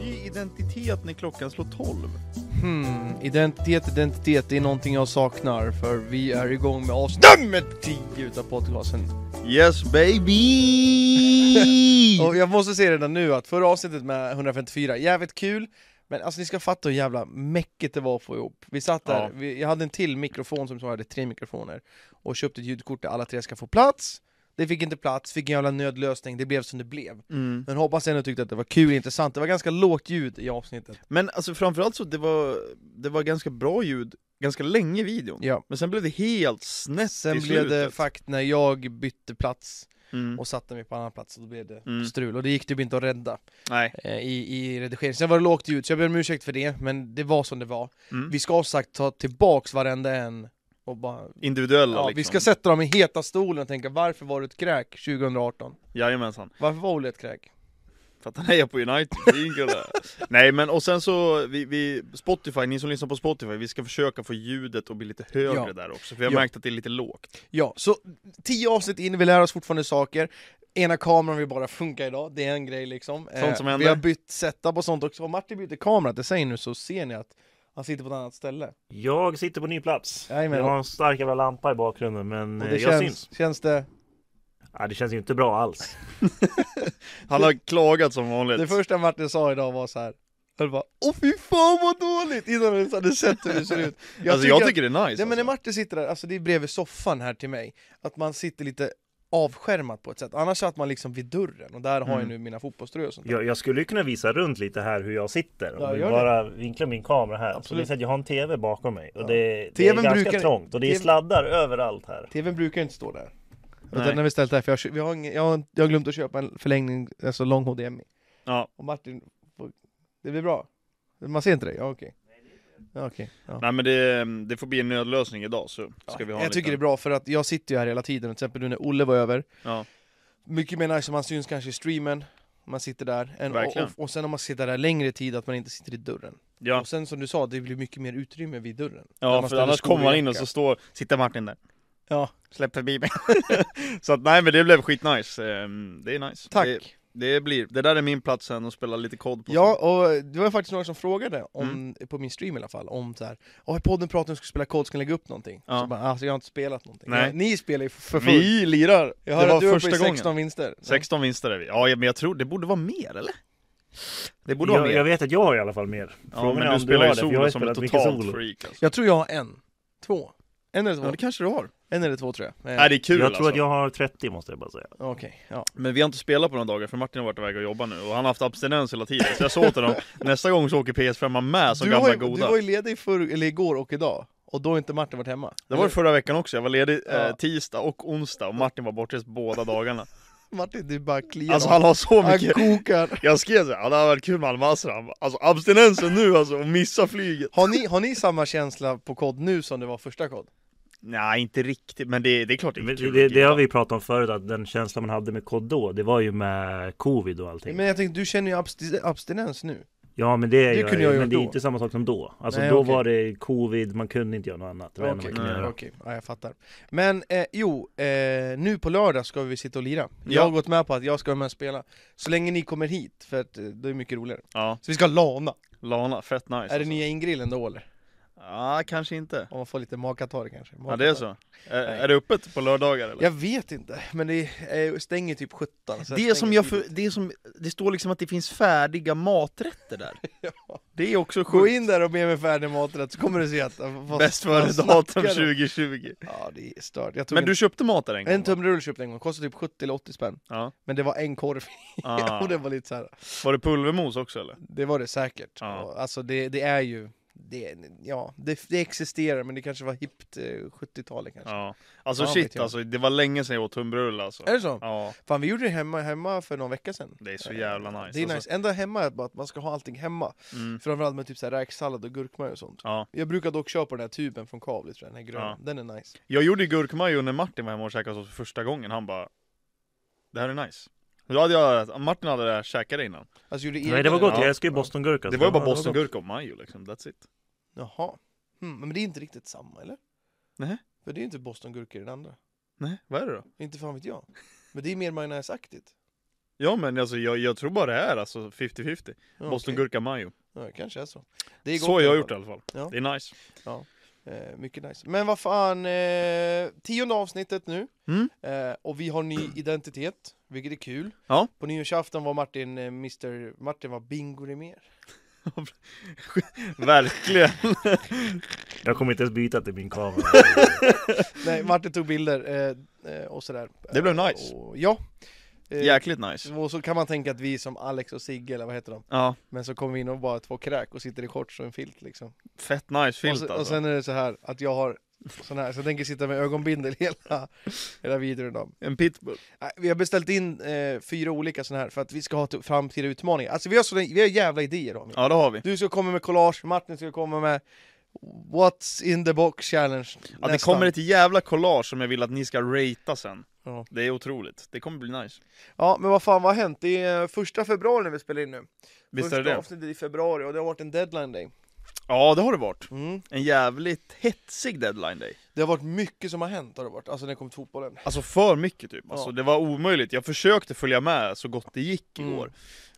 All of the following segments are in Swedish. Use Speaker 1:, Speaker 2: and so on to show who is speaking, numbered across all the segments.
Speaker 1: identitet när klockan slår tolv?
Speaker 2: Hmm, identitet, identitet, det är någonting jag saknar för vi är igång med avsnitt nummer 10 utav podcasten.
Speaker 1: Yes baby!
Speaker 2: Och jag måste säga redan nu att förra avsnittet med 154, jävligt kul men alltså ni ska fatta hur jävla mäckigt det var att få ihop. Vi satt där,
Speaker 1: Ja.
Speaker 2: vi, jag hade en till mikrofon som som hade tre mikrofoner och köpte ett ljudkort där alla tre ska få plats. Det fick inte plats, fick en jävla nödlösning, det blev som det blev.
Speaker 1: Mm.
Speaker 2: Men hoppas jag ändå tyckte att det var kul och intressant, det var ganska lågt ljud i avsnittet.
Speaker 1: Men alltså framförallt så det var, det var ganska bra ljud ganska länge i videon.
Speaker 2: Ja.
Speaker 1: Men sen blev det helt snett
Speaker 2: Sen
Speaker 1: i
Speaker 2: blev det
Speaker 1: slutet.
Speaker 2: fakt när jag bytte plats
Speaker 1: Mm.
Speaker 2: och satte mig på annan plats och då blev det
Speaker 1: Mm.
Speaker 2: strul och det gick typ inte att rädda
Speaker 1: Nej.
Speaker 2: eh, i, i redigeringen. Sen var det lågt ljud så jag ber om ursäkt för det men det var som det var.
Speaker 1: Mm.
Speaker 2: Vi ska som sagt ta tillbaks varenda en och bara
Speaker 1: Individuella
Speaker 2: Ja,
Speaker 1: liksom.
Speaker 2: Vi ska sätta dem i heta stolen och tänka varför var du ett kräk 2018?
Speaker 1: Jajamensan.
Speaker 2: Varför var Olle ett kräk?
Speaker 1: För att han hejar på United, det är ingen kul där. Nej men och sen så, vi, vi, Spotify, ni som lyssnar på Spotify, vi ska försöka få ljudet att bli lite högre
Speaker 2: Ja.
Speaker 1: där också, för jag har
Speaker 2: Ja.
Speaker 1: märkt att det är lite lågt.
Speaker 2: Ja, så tio avsnitt in, vi lär oss fortfarande saker Ena kameran vill bara funka idag, det är en grej liksom Eh,
Speaker 1: Sånt som händer.
Speaker 2: Vi har bytt setup och sånt också, om Martin byter kamera till sig nu så ser ni att han sitter på ett annat ställe
Speaker 3: Jag sitter på ny plats.
Speaker 2: Jajamän.
Speaker 3: Jag har en stark jävla lampa i bakgrunden men
Speaker 2: Och
Speaker 3: eh,
Speaker 2: det
Speaker 3: jag
Speaker 2: känns,
Speaker 3: syns.
Speaker 2: känns det
Speaker 3: Ja, det känns ju inte bra alls.
Speaker 1: Han har klagat som vanligt.
Speaker 2: Det första Martin sa idag var så här. Jag bara, åh fy fan vad dåligt! Innan vi ens hade sett hur det ser ut.
Speaker 1: jag alltså jag
Speaker 2: att-
Speaker 1: tycker det är nice
Speaker 2: Nej men när
Speaker 1: alltså.
Speaker 2: Martin sitter där, alltså det är bredvid soffan här till mig, att man sitter lite avskärmat på ett sätt. Annars satt man liksom vid dörren, och där har jag
Speaker 1: Mm.
Speaker 2: nu mina fotbollströjor och sånt där.
Speaker 3: Jag, jag skulle ju kunna visa runt lite här hur jag sitter. Om
Speaker 2: Ja,
Speaker 3: du
Speaker 2: gör det.
Speaker 3: bara vinklar min kamera här.
Speaker 2: Absolut.
Speaker 3: Absolut. Så att jag har en TV bakom mig.
Speaker 2: Ja.
Speaker 3: Och det, det är
Speaker 2: TV:n
Speaker 3: ganska
Speaker 2: brukar-
Speaker 3: trångt och det är
Speaker 2: TV
Speaker 3: sladdar överallt här.
Speaker 2: TVn brukar inte stå där.
Speaker 1: Nej.
Speaker 2: Utan den är ställt där, för jag, kö- vi har ingen, jag, har, jag har glömt att köpa en förlängning, alltså lång HDMI.
Speaker 1: Ja.
Speaker 2: Och Martin, får- det blir bra. Man ser inte dig? Ja okej. Ja, okej. ja.
Speaker 1: Nej men det, det får bli en nödlösning idag så ska vi ha en
Speaker 2: jag tycker det är
Speaker 1: liten-
Speaker 2: bra för att jag sitter ju här hela tiden, till exempel nu när Olle var över
Speaker 1: Ja.
Speaker 2: Mycket mer nice om man syns kanske i streamen, om man sitter där, än, och,
Speaker 1: Verkligen.
Speaker 2: och, och sen om man sitter där längre tid att man inte sitter i dörren
Speaker 1: Ja,
Speaker 2: Och sen som du sa, det blir mycket mer utrymme vid dörren Där
Speaker 1: ja
Speaker 2: man
Speaker 1: för
Speaker 2: ställer
Speaker 1: annars
Speaker 2: skor
Speaker 1: kommer man in och
Speaker 2: jacka.
Speaker 1: så står, sitter Martin där
Speaker 2: Ja,
Speaker 1: Släpp förbi mig Så att nej men det blev skitnice, Ehm, det är nice
Speaker 2: tack!
Speaker 1: det, det blir, det där är min plats sen att spela lite kod på Mm.
Speaker 2: Ja, och det var faktiskt några som frågade, om, på min stream i alla fall, om så här, "Ja, i podden pratar om att vi ska spela kod, ska ni lägga upp någonting?
Speaker 1: Ja.
Speaker 2: Så bara, alltså jag har inte spelat någonting
Speaker 1: Nej.
Speaker 2: Ja, Ni spelar ju för fullt!
Speaker 1: Vi lirar!
Speaker 2: Jag hör
Speaker 1: det
Speaker 2: att du
Speaker 1: var
Speaker 2: är uppe i
Speaker 1: första
Speaker 2: 16
Speaker 1: gången
Speaker 2: vinster
Speaker 1: 16 vinster är vi, ja men jag tror det borde vara mer eller? Det borde vara
Speaker 3: Jag,
Speaker 1: mer
Speaker 3: jag vet att jag har i alla fall mer.
Speaker 1: Ja
Speaker 3: Frågan är
Speaker 1: men du
Speaker 3: om
Speaker 1: spelar ju
Speaker 3: har det, för jag har
Speaker 1: solo som ett
Speaker 3: spelat mycket
Speaker 1: totalt
Speaker 3: solo.
Speaker 1: freak alltså.
Speaker 2: Jag tror jag har en, två, en eller två,
Speaker 1: Ja det kanske du har
Speaker 2: en eller två tror jag Eh,
Speaker 1: Nej det är kul
Speaker 3: Jag
Speaker 1: alltså.
Speaker 3: tror att jag har 30 måste jag bara säga.
Speaker 2: Okej, ja.
Speaker 1: Men vi har inte spelat på några dagar för Martin har varit iväg och jobbat nu och han har haft abstinens hela tiden Så jag sa till honom, nästa gång så åker PS5 med som
Speaker 2: Du var,
Speaker 1: Alltså gamla
Speaker 2: ju, du
Speaker 1: goda
Speaker 2: var ju ledig för, eller igår och idag, och då har inte Martin varit hemma.
Speaker 1: Det var det förra veckan också, jag var ledig eh,
Speaker 2: Ja.
Speaker 1: tisdag och onsdag och Martin var bortrest båda dagarna
Speaker 2: Martin, du bara kliar
Speaker 1: Alltså
Speaker 2: honom.
Speaker 1: han har så
Speaker 2: han
Speaker 1: mycket
Speaker 2: kokar.
Speaker 1: Jag skrev såhär, ja, det hade varit kul med Almazra, Han bara, alltså abstinensen nu alltså, och missa flyget
Speaker 2: Har ni, har ni samma känsla på kod nu som det var första kod?
Speaker 1: Nej inte riktigt, men det, det är klart det är
Speaker 3: Men
Speaker 1: kul
Speaker 3: Det,
Speaker 1: att
Speaker 3: det har
Speaker 1: gilla.
Speaker 3: vi pratat om förut, att den känslan man hade med kod då, det var ju med covid och allting.
Speaker 2: Men jag tänkte, du känner ju absti- abstinens nu.
Speaker 3: Ja men det,
Speaker 2: Det
Speaker 3: gör
Speaker 2: kunde jag
Speaker 3: jag, ju,
Speaker 2: gjort
Speaker 3: men det är
Speaker 2: då.
Speaker 3: inte samma sak som då. Alltså
Speaker 2: Nej,
Speaker 3: då
Speaker 2: okej.
Speaker 3: var det covid, man kunde inte göra något annat. Det var det enda
Speaker 2: Okej,
Speaker 3: man kunde
Speaker 2: ja,
Speaker 3: göra.
Speaker 2: okej. ja, jag fattar. Men eh, jo, eh, nu på lördag ska vi sitta och lira. Jag
Speaker 1: Ja.
Speaker 2: har gått med på att jag ska vara med och spela, så länge ni kommer hit, för att eh, det är mycket roligare.
Speaker 1: Ja,
Speaker 2: Så vi ska lana.
Speaker 1: Lana, fett nice
Speaker 2: är det
Speaker 1: alltså.
Speaker 2: nya ingrillen då eller?
Speaker 1: Ja, kanske inte
Speaker 2: Om man får lite magkatarr kanske.
Speaker 1: Ja det är så är, är det öppet på lördagar eller?
Speaker 2: Jag vet inte, men det är, stänger typ 17 så
Speaker 1: Det
Speaker 2: stänger
Speaker 1: är som jag,
Speaker 2: tidigt.
Speaker 1: för, det är som, det står liksom att det finns färdiga maträtter där
Speaker 2: Ja.
Speaker 1: Det är också
Speaker 2: Gå
Speaker 1: sjukt
Speaker 2: in där och be mig färdig maträtt så kommer du se att... vad-
Speaker 1: Bäst
Speaker 2: vad
Speaker 1: före
Speaker 2: snackar
Speaker 1: datum
Speaker 2: de?
Speaker 1: 2020
Speaker 2: Ja det är stört. Jag tog
Speaker 1: Men du
Speaker 2: en,
Speaker 1: köpte mat där en gång?
Speaker 2: en
Speaker 1: va?
Speaker 2: tumrulle köpte jag en gång, kostade typ 70 eller 80 spänn.
Speaker 1: Ja.
Speaker 2: Men det var en korv
Speaker 1: Ah.
Speaker 2: och det var lite så här.
Speaker 1: Var det pulvermos också eller?
Speaker 2: det var det säkert.
Speaker 1: Ja.
Speaker 2: Och, alltså det, det är ju, det, ja det, det existerar men det kanske var hippt eh, 70-talet kanske.
Speaker 1: Ja, alltså
Speaker 2: Ja, vet
Speaker 1: shit
Speaker 2: jag.
Speaker 1: alltså, det var länge sedan jag åt tunnbröd alltså
Speaker 2: Är det så?
Speaker 1: Ja,
Speaker 2: Fan vi gjorde det hemma, hemma för någon vecka sedan.
Speaker 1: det är så jävla nice,
Speaker 2: Det är
Speaker 1: alltså.
Speaker 2: nice. Enda hemma är bara att man ska ha allting hemma.
Speaker 1: Mm.
Speaker 2: Framförallt med typ så här räksallad och gurkmajo och sånt.
Speaker 1: ja
Speaker 2: Jag brukar dock köpa den här tuben från Kavli tror jag, den här gröna.
Speaker 1: Ja.
Speaker 2: Den är nice.
Speaker 1: Jag gjorde ju gurkmajo när Martin var hemma och käkade hos oss för första gången, han bara Det här är nice Då hade jag, Martin hade det här käkat det innan
Speaker 2: Alltså gjorde
Speaker 3: Nej det var gott,
Speaker 2: egen-
Speaker 3: jag älskar ju bostongurka.
Speaker 1: Det
Speaker 3: så
Speaker 1: var ju bara
Speaker 3: det gott.
Speaker 1: bostongurka och majo liksom, that's it
Speaker 2: Jaha. Hmm, men det är inte riktigt samma eller?
Speaker 1: Nej.
Speaker 2: För det är ju inte bostongurka i den andra.
Speaker 1: Nej, vad är det då?
Speaker 2: Inte fan vet jag. Men det är mer majonnäsaktigt.
Speaker 1: Ja men alltså jag, jag tror bara det är alltså 50-50
Speaker 2: Ja,
Speaker 1: Boston
Speaker 2: okej.
Speaker 1: gurka majo
Speaker 2: Ja, kanske är så. Det är gott
Speaker 1: Så
Speaker 2: i
Speaker 1: jag har
Speaker 2: alla
Speaker 1: gjort det i
Speaker 2: fall.
Speaker 1: alla fall
Speaker 2: Ja.
Speaker 1: Det är nice
Speaker 2: Eh, mycket nice. Men vad fan, eh, tionde avsnittet nu.
Speaker 1: Mm.
Speaker 2: Eh, och vi har ny identitet, vilket är kul.
Speaker 1: Ja.
Speaker 2: På nyårsafton var Martin, eh, Mr. Martin var Bingo mer.
Speaker 1: Verkligen
Speaker 3: Jag kommer inte ens byta till min kamera.
Speaker 2: Nej, Martin tog bilder eh, eh, och sådär.
Speaker 1: Det blev nice.
Speaker 2: Och, ja. Eh,
Speaker 1: Jäkligt nice
Speaker 2: Och så kan man tänka att vi är som Alex och Sigge, eller vad heter de?
Speaker 1: Ja,
Speaker 2: Men så kommer vi in och bara två kräk och sitter i shorts och en filt liksom.
Speaker 1: fett nice
Speaker 2: och,
Speaker 1: filt
Speaker 2: sen,
Speaker 1: alltså
Speaker 2: och sen är det så här att jag har sån här, så jag tänker sitta med ögonbindel hela, hela videon. om.
Speaker 1: En pitbull
Speaker 2: Nej, Vi har beställt in eh, fyra olika såna här för att vi ska ha till- framtida utmaningar. Alltså vi har, såna, vi har jävla idéer om
Speaker 1: Ja det har vi
Speaker 2: Du ska komma med collage, Martin ska komma med What's in the box challenge.
Speaker 1: Att det
Speaker 2: nästan.
Speaker 1: kommer ett jävla collage som jag vill att ni ska ratea sen
Speaker 2: Ja.
Speaker 1: Det är otroligt, det kommer bli nice
Speaker 2: Ja, men vad fan vad har hänt? Det är eh, första februari när vi spelar in nu.
Speaker 1: Visst
Speaker 2: första
Speaker 1: är det det?
Speaker 2: avsnittet i februari och det har varit en deadline day.
Speaker 1: Ja det har det varit
Speaker 2: Mm.
Speaker 1: En jävligt hetsig deadline day
Speaker 2: Det har varit mycket som har hänt har det varit, alltså när det kom till fotbollen.
Speaker 1: Alltså för mycket typ, alltså,
Speaker 2: Ja.
Speaker 1: det var omöjligt Jag försökte följa med så gott det gick
Speaker 2: Mm.
Speaker 1: igår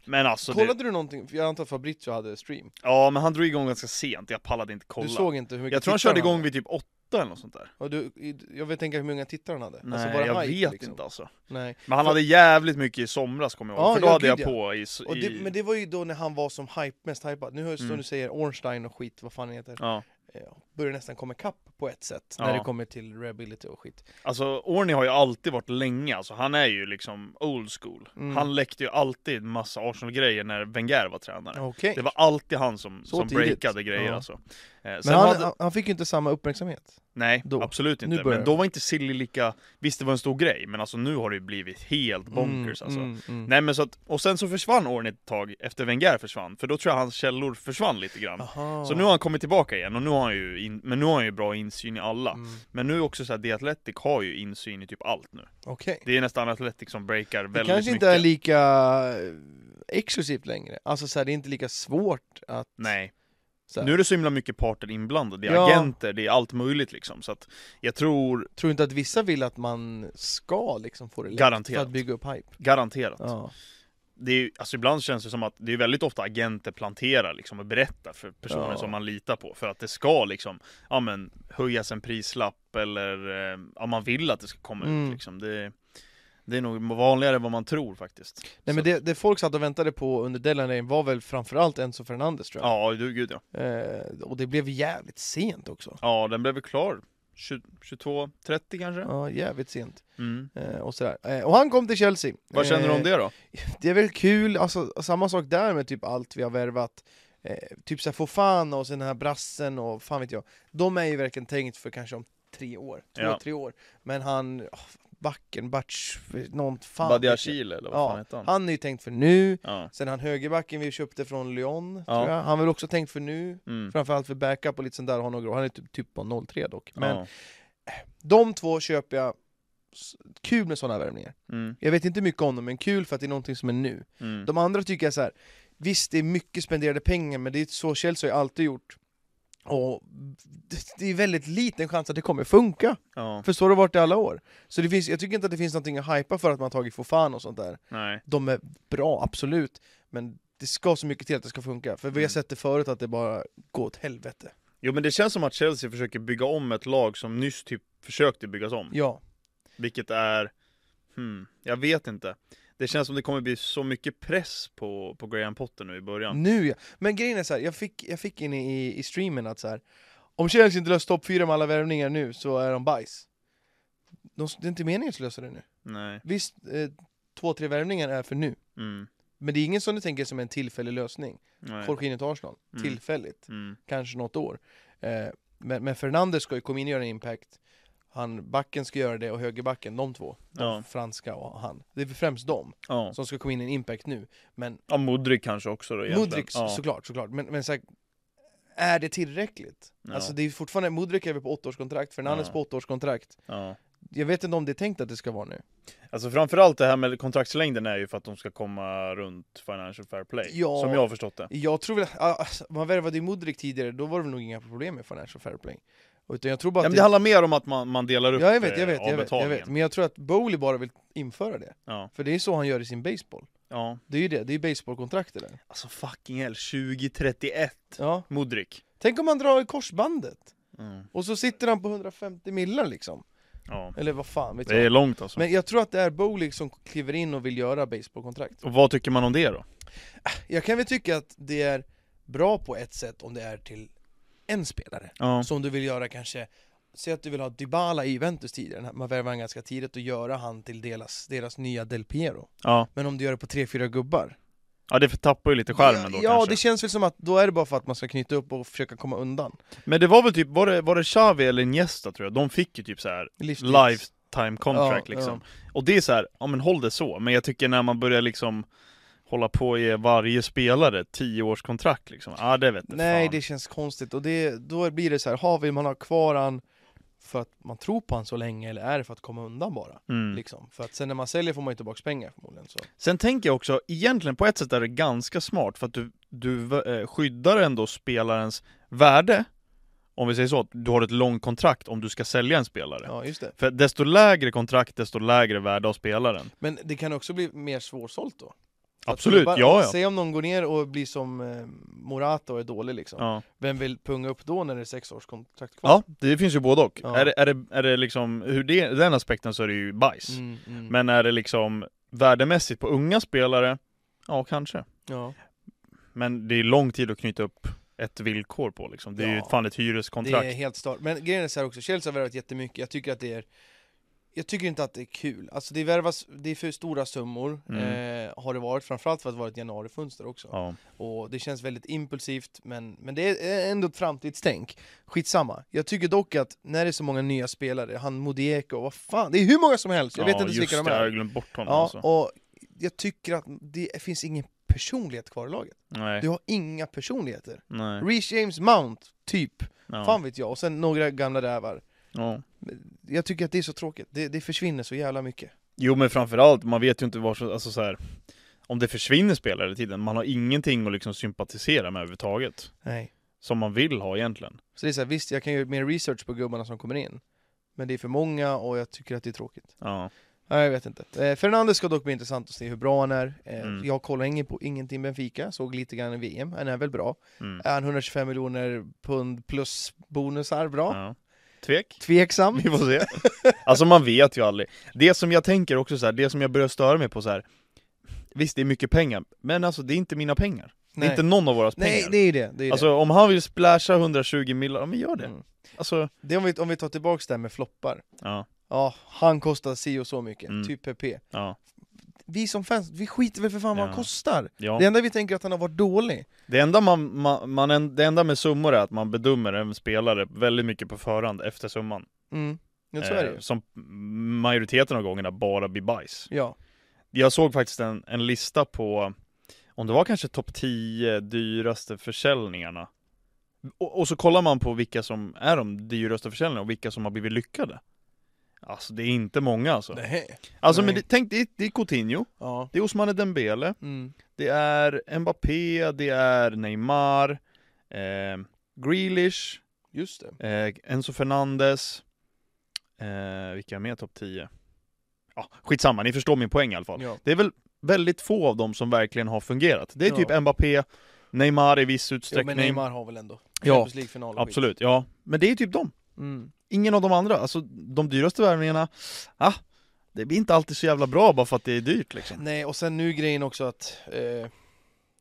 Speaker 1: Men alltså, det,
Speaker 2: Kollade du någonting? För Jag antar att Fabrizio hade stream.
Speaker 1: ja men han drog igång ganska sent, jag pallade inte kolla
Speaker 2: Du såg inte hur mycket
Speaker 1: Jag tror han
Speaker 2: tittare
Speaker 1: körde igång
Speaker 2: hade.
Speaker 1: vid typ åtta eller något sånt där
Speaker 2: Och du, i- jag vill tänka hur många tittare han hade. Alltså,
Speaker 1: Nej
Speaker 2: bara
Speaker 1: jag
Speaker 2: hype, liksom.
Speaker 1: vet inte alltså
Speaker 2: Nej.
Speaker 1: Men han hade jävligt mycket i somras kommer jag ihåg,
Speaker 2: Ja,
Speaker 1: för då
Speaker 2: ja,
Speaker 1: hade jag
Speaker 2: gud, ja.
Speaker 1: på i... s-
Speaker 2: Och det,
Speaker 1: i
Speaker 2: men det var ju då när han var som hype, mest hypad. Nu hörs det
Speaker 1: Mm.
Speaker 2: du säger Ornstein och skit, vad fan han heter.
Speaker 1: ja.
Speaker 2: Eh, Börjar nästan komma kapp på ett sätt
Speaker 1: Ja.
Speaker 2: när det kommer till reability och skit.
Speaker 1: Alltså Orny har ju alltid varit länge, alltså, han är ju liksom old school
Speaker 2: Mm.
Speaker 1: Han läckte ju alltid massa Arsenal-grejer när Wenger var tränare
Speaker 2: Okej.
Speaker 1: Det var alltid han som,
Speaker 2: Så
Speaker 1: som
Speaker 2: tidigt.
Speaker 1: breakade grejer
Speaker 2: Ja.
Speaker 1: alltså eh, sen
Speaker 2: Men han,
Speaker 1: hade,
Speaker 2: han- han fick ju inte samma uppmärksamhet.
Speaker 1: Nej,
Speaker 2: då.
Speaker 1: absolut
Speaker 2: Nu
Speaker 1: inte.
Speaker 2: börjar
Speaker 1: Men då
Speaker 2: det.
Speaker 1: var inte Silly lika, visst det var en stor grej, men alltså nu har det ju blivit helt bonkers alltså.
Speaker 2: Mm, mm.
Speaker 1: Nej men så att, och sen så försvann Orny ett tag efter Wenger försvann, för då tror jag hans källor försvann lite grann.
Speaker 2: Aha.
Speaker 1: Så nu har han kommit tillbaka igen, och nu har han ju, in, men nu har han ju bra insyn i alla.
Speaker 2: Mm.
Speaker 1: Men nu också såhär, The Athletic har ju insyn i typ allt nu.
Speaker 2: Okej.
Speaker 1: Det är nästan Athletic som breakar väldigt
Speaker 2: Det
Speaker 1: mycket.
Speaker 2: kanske inte är lika eh, exklusivt längre. Alltså så här, det är inte lika svårt att...
Speaker 1: Nej.
Speaker 2: Så här,
Speaker 1: Nu är det så himla mycket parter inblandade, det är
Speaker 2: Ja.
Speaker 1: agenter, det är allt möjligt liksom. Så att jag tror,
Speaker 2: Tror inte att vissa vill att man ska liksom få det lätt för
Speaker 1: Garanterat.
Speaker 2: att bygga upp hype?
Speaker 1: garanterat.
Speaker 2: Ja.
Speaker 1: det är, ju- alltså ibland känns det som att det är väldigt ofta agenter planterar liksom och berättar för personer
Speaker 2: Ja.
Speaker 1: som man litar på för att det ska liksom, ja men höjas en prislapp eller eh, ja, man vill att det ska komma
Speaker 2: Mm.
Speaker 1: ut liksom. Det, det är nog vanligare än vad man tror faktiskt.
Speaker 2: Nej men
Speaker 1: Så-
Speaker 2: det, det folk satt och väntade på under deadline day var väl framförallt Enzo Fernandes tror jag.
Speaker 1: Ja, du gud ja.
Speaker 2: Eh, och det blev jävligt sent också.
Speaker 1: Ja, den blev väl klar 22.30 kanske?
Speaker 2: Ja, jävligt sent.
Speaker 1: Mm.
Speaker 2: Eh, och, sådär. Eh, och han kom till Chelsea.
Speaker 1: Vad känner du om
Speaker 2: Eh,
Speaker 1: det då?
Speaker 2: Det är väl kul, alltså samma sak där med typ allt vi har värvat. Eh, typ såhär Fofana och sen den här brassen och fan vet jag. De är ju verkligen tänkt för kanske om tre år, två,
Speaker 1: Ja.
Speaker 2: tre år. Men han, oh, backen, Batch, någon fan. vet jag.
Speaker 1: Badiashile eller vad
Speaker 2: Ja,
Speaker 1: fan heter han?
Speaker 2: Han är ju tänkt för nu.
Speaker 1: Ja.
Speaker 2: Sen han högerbacken vi köpte från Lyon,
Speaker 1: Ja.
Speaker 2: tror jag. Han är väl också tänkt för nu.
Speaker 1: Mm.
Speaker 2: Framförallt för backup och lite sånt där, har några år. Han är typ, typ på 03 dock. Men
Speaker 1: Ja.
Speaker 2: de två köper jag, S- kul med sådana värvningar.
Speaker 1: Mm.
Speaker 2: Jag vet inte mycket om dem, men kul för att det är någonting som är nu.
Speaker 1: Mm.
Speaker 2: De andra tycker jag så här. visst det är mycket spenderade pengar, men det är så Chelsea har ju alltid gjort. Och det- det är väldigt liten chans att det kommer funka,
Speaker 1: ja,
Speaker 2: för så har det varit i alla år. Så det finns, jag tycker inte att det finns någonting att hypa för att man har tagit Fofana och sånt där
Speaker 1: nej.
Speaker 2: de är bra, absolut, men det ska så mycket till att det ska funka. För vi har
Speaker 1: Mm.
Speaker 2: sett det förut att det bara går åt helvete.
Speaker 1: Jo men det känns som att Chelsea försöker bygga om ett lag som nyss typ försökte byggas om.
Speaker 2: Ja.
Speaker 1: Vilket är... Hmm, jag vet inte. Det känns som det kommer bli så mycket press på, på Graham Potter nu i början.
Speaker 2: Nu ja. Men grejen är så här, jag fick, jag fick in i, i streamen att så här, om Chelsea inte löser topp 4 med alla värvningar nu så är de bajs. De, det är inte meningen att lösa det nu.
Speaker 1: Nej.
Speaker 2: Visst, eh, två, tre värvningar är för nu.
Speaker 1: Mm.
Speaker 2: Men det är ingen som du tänker som en tillfällig lösning.
Speaker 1: Nej.
Speaker 2: Jorginho till Arsenal,
Speaker 1: Mm.
Speaker 2: tillfälligt.
Speaker 1: Mm.
Speaker 2: kanske något år. Eh, men, men Fernandes ska ju komma in och göra en impact. Han, backen ska göra det och högerbacken, de två. De
Speaker 1: Ja.
Speaker 2: franska och han. Det är väl främst de
Speaker 1: Ja.
Speaker 2: som ska komma in i en impact nu. Men
Speaker 1: ja, Modric kanske också då egentligen.
Speaker 2: Mudrik
Speaker 1: ja.
Speaker 2: såklart, såklart. Men, men så här, är det tillräckligt?
Speaker 1: Ja.
Speaker 2: Alltså det är ju fortfarande, Mudrik är väl på åttaårskontrakt, Fernandes
Speaker 1: Ja.
Speaker 2: på åttaårskontrakt.
Speaker 1: ja.
Speaker 2: Jag vet inte om det är tänkt att det ska vara nu.
Speaker 1: Alltså framförallt det här med kontraktslängden är ju för att de ska komma runt Financial Fair Play.
Speaker 2: Ja.
Speaker 1: Som jag har förstått det.
Speaker 2: Jag tror väl, alltså, man värvade ju Mudrik tidigare, då var det väl nog inga problem med Financial Fair Play. Utan jag tror bara
Speaker 1: Ja,
Speaker 2: att
Speaker 1: men det handlar mer om att man, man delar upp
Speaker 2: Ja, jag vet,
Speaker 1: eh,
Speaker 2: jag vet, jag vet, jag vet.
Speaker 1: avbetalningen.
Speaker 2: Men jag tror att Bowley bara vill införa det.
Speaker 1: Ja,
Speaker 2: För det är så han gör i sin baseball.
Speaker 1: ja.
Speaker 2: Det är ju det, det är ju baseballkontraktet där.
Speaker 1: Alltså fucking hell, 2031
Speaker 2: Ja.
Speaker 1: Modric
Speaker 2: Tänk om han drar i korsbandet.
Speaker 1: mm.
Speaker 2: Och så sitter han på 150 millar liksom.
Speaker 1: ja.
Speaker 2: Eller vad fan vet
Speaker 1: Det är
Speaker 2: jag.
Speaker 1: långt alltså
Speaker 2: Men jag tror att det är Bowley som kliver in och vill göra baseballkontrakt.
Speaker 1: Och vad tycker man om det då?
Speaker 2: Jag kan väl tycka att det är bra på ett sätt om det är till en spelare.
Speaker 1: Ja,
Speaker 2: Som du vill göra kanske, säg att du vill ha Dybala i Juventus tidigare, man värvar han ganska tidigt och göra han till deras, deras nya Del Piero.
Speaker 1: ja.
Speaker 2: Men om du gör det på tre, fyra gubbar,
Speaker 1: ja det tappar ju lite skärmen då
Speaker 2: Ja,
Speaker 1: kanske
Speaker 2: det känns väl som att då är det bara för att man ska knyta upp och försöka komma undan.
Speaker 1: Men det var väl typ, var det, var det Xavi eller Iniesta tror jag? De fick ju typ så här
Speaker 2: Livstids.
Speaker 1: lifetime contract
Speaker 2: Ja,
Speaker 1: liksom Och det är så här, ja men håll det så, men jag tycker när man börjar liksom Hålla på och ge varje spelare 10 års kontrakt liksom, ja det vet du
Speaker 2: Nej,
Speaker 1: fan.
Speaker 2: det känns konstigt och det, då blir det så här, ha, vill man ha kvar han för att man tror på han så länge eller är det för att komma undan bara?
Speaker 1: Mm.
Speaker 2: Liksom. För att sen när man säljer får man ju tillbaka pengar förmodligen. Så.
Speaker 1: Sen tänker jag också, egentligen på ett sätt är det ganska smart för att du, du eh, skyddar ändå spelarens värde Om vi säger så, att du har ett långt kontrakt om du ska sälja en spelare
Speaker 2: Ja, just det.
Speaker 1: För desto lägre kontrakt, desto lägre värde av spelaren
Speaker 2: Men det kan också bli mer svårsålt då. Att
Speaker 1: Absolut,
Speaker 2: klubbar-
Speaker 1: ja ja,
Speaker 2: Säg om någon går ner och blir som eh, Morata och är dålig liksom.
Speaker 1: ja.
Speaker 2: Vem vill punga upp då när det är sex års kontrakt kvar?
Speaker 1: Ja, det finns ju både och.
Speaker 2: Ja.
Speaker 1: Är, det, är, det, är det liksom, ur det, den aspekten så är det ju bajs.
Speaker 2: Mm, mm.
Speaker 1: Men är det liksom värdemässigt på unga spelare, ja kanske.
Speaker 2: ja.
Speaker 1: Men det är lång tid att knyta upp ett villkor på liksom. Det är ju
Speaker 2: Ja.
Speaker 1: fan ett
Speaker 2: Det är
Speaker 1: hyreskontrakt.
Speaker 2: helt start. Men grejen är så här också, Chelsea har värvat jättemycket, jag tycker att det är jag tycker inte att det är kul. Alltså det värvas, det är för stora summor, eh, har det varit, framförallt för att det var ett januarifönster också.
Speaker 1: Mm. Ja.
Speaker 2: Och det känns väldigt impulsivt, men, men det är ändå ett framtidstänk. Skitsamma. Jag tycker dock att när det är så många nya spelare, han Modieko, vad fan, det är hur många som helst, jag vet
Speaker 1: ja,
Speaker 2: inte ens
Speaker 1: just
Speaker 2: vilka de
Speaker 1: det, jag har
Speaker 2: är.
Speaker 1: glömt bort honom
Speaker 2: Ja,
Speaker 1: alltså.
Speaker 2: och jag tycker att det finns ingen personlighet kvar i laget.
Speaker 1: Nej,
Speaker 2: Du har inga personligheter.
Speaker 1: nej.
Speaker 2: Reece James Mount, typ.
Speaker 1: Ja.
Speaker 2: Fan vet jag, och sen några gamla rävar.
Speaker 1: Ja.
Speaker 2: Jag tycker att det är så tråkigt, det, det försvinner så jävla mycket.
Speaker 1: Jo men framförallt, man vet ju inte var, så- alltså så här. Om det försvinner spelare i tiden, man har ingenting att liksom sympatisera med överhuvudtaget.
Speaker 2: Nej.
Speaker 1: Som man vill ha egentligen.
Speaker 2: Så det är så här, visst jag kan göra mer research på gubbarna som kommer in. Men det är för många och jag tycker att det är tråkigt.
Speaker 1: Ja.
Speaker 2: Nej, jag vet inte. Eh, Fernandes ska dock bli intressant att se hur bra han är. Eh,
Speaker 1: Mm.
Speaker 2: Jag kollar ingen på, ingenting Benfica, såg lite grann i VM. Han är väl bra.
Speaker 1: Mm.
Speaker 2: Är han 125 miljoner pund plus bonusar bra?
Speaker 1: ja. Tvek?
Speaker 2: Tveksam.
Speaker 1: Vi får se. Alltså man vet ju aldrig. Det som jag tänker också så här, det som jag börjar störa mig på så här. Visst, det är mycket pengar, men alltså det är inte mina pengar. Det är
Speaker 2: Nej.
Speaker 1: inte någon av våra
Speaker 2: Nej,
Speaker 1: pengar.
Speaker 2: det är ju det. det, är
Speaker 1: Alltså om han vill splasha 120 miljoner, ja men gör
Speaker 2: det.
Speaker 1: det.
Speaker 2: Mm.
Speaker 1: Alltså,
Speaker 2: det är om, vi, om vi tar tillbaks det här med floppar.
Speaker 1: ja,
Speaker 2: Ja, han kostar si och så mycket,
Speaker 1: Mm.
Speaker 2: typ PP.
Speaker 1: ja,
Speaker 2: vi som fans, vi skiter väl för fan vad
Speaker 1: Ja.
Speaker 2: han kostar?
Speaker 1: ja.
Speaker 2: Det enda vi tänker är att han har varit dålig.
Speaker 1: Det enda, man, man, man, en- det enda med summor är att man bedömer en spelare väldigt mycket på förhand efter summan.
Speaker 2: Mm. Men så är det
Speaker 1: Eh,
Speaker 2: ju.
Speaker 1: Som majoriteten av gångerna bara blir bajs.
Speaker 2: Ja.
Speaker 1: Jag såg faktiskt en, en lista på, om det var kanske topp 10 dyraste försäljningarna. Och, och så kollar man på vilka som är de dyraste försäljningarna och vilka som har blivit lyckade. Alltså det är inte många alltså.
Speaker 2: Nej.
Speaker 1: Alltså men
Speaker 2: Nej.
Speaker 1: det, tänk, det är, det är Coutinho,
Speaker 2: Ja.
Speaker 1: det är Ousmane Dembele,
Speaker 2: Mm.
Speaker 1: det är Mbappé, det är Neymar, eh, Grealish,
Speaker 2: Just det.
Speaker 1: eh, Enzo Fernandes, eh, vilka är med topp 10? Ja, skitsamma, ni förstår min poäng i alla fall.
Speaker 2: Ja.
Speaker 1: Det är väl väldigt få av dem som verkligen har fungerat. Det är
Speaker 2: Ja.
Speaker 1: typ Mbappé, Neymar i viss
Speaker 2: Jo,
Speaker 1: utsträckning.
Speaker 2: men Neymar har väl ändå
Speaker 1: Ja,
Speaker 2: Champions League-final och skit.
Speaker 1: Absolut, ja. Men det är typ dem.
Speaker 2: Mm.
Speaker 1: Ingen av de andra. Alltså de dyraste värvningarna, ah, det blir inte alltid så jävla bra bara för att det är dyrt liksom.
Speaker 2: Nej, och sen nu grejen också att eh,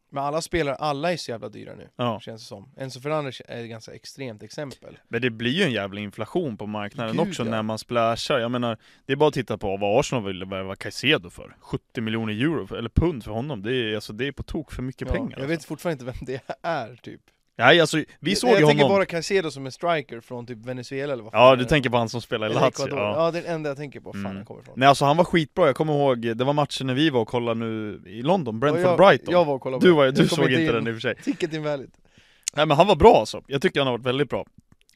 Speaker 2: men alla spelare, alla är så jävla dyra nu.
Speaker 1: Ja.
Speaker 2: Känns det som. Enzo Fernandes är ett ganska extremt exempel.
Speaker 1: Men det blir ju en jävla inflation på marknaden
Speaker 2: Gud,
Speaker 1: också
Speaker 2: ja.
Speaker 1: när man splashar. Jag menar, det är bara att titta på vad Arsenal ville värva Caicedo för. 70 miljoner euro, för, eller pund för honom. Det är, alltså, det är på tok för mycket
Speaker 2: Ja,
Speaker 1: pengar.
Speaker 2: jag
Speaker 1: Alltså.
Speaker 2: vet fortfarande inte vem det är, typ.
Speaker 1: Nej alltså, vi såg
Speaker 2: jag
Speaker 1: ju
Speaker 2: tänker
Speaker 1: honom.
Speaker 2: bara Caicedo som en striker från typ Venezuela eller vad fan
Speaker 1: Ja,
Speaker 2: är
Speaker 1: du
Speaker 2: det?
Speaker 1: tänker på han som spelar i
Speaker 2: Eller
Speaker 1: Lazio.
Speaker 2: Ecuador.
Speaker 1: ja.
Speaker 2: Ja. det är den enda jag tänker på, fan
Speaker 1: Mm.
Speaker 2: han kommer ifrån.
Speaker 1: Nej alltså han var skitbra, jag kommer ihåg, det var matchen när vi var och kollade nu i London,
Speaker 2: Och
Speaker 1: Brentford
Speaker 2: jag,
Speaker 1: Brighton
Speaker 2: Jag var och kollade på
Speaker 1: Du,
Speaker 2: det.
Speaker 1: var, du
Speaker 2: Jag kom
Speaker 1: såg inte
Speaker 2: in.
Speaker 1: den i och för sig
Speaker 2: Ticket invalid.
Speaker 1: Nej men han var bra alltså, jag tycker han har varit väldigt bra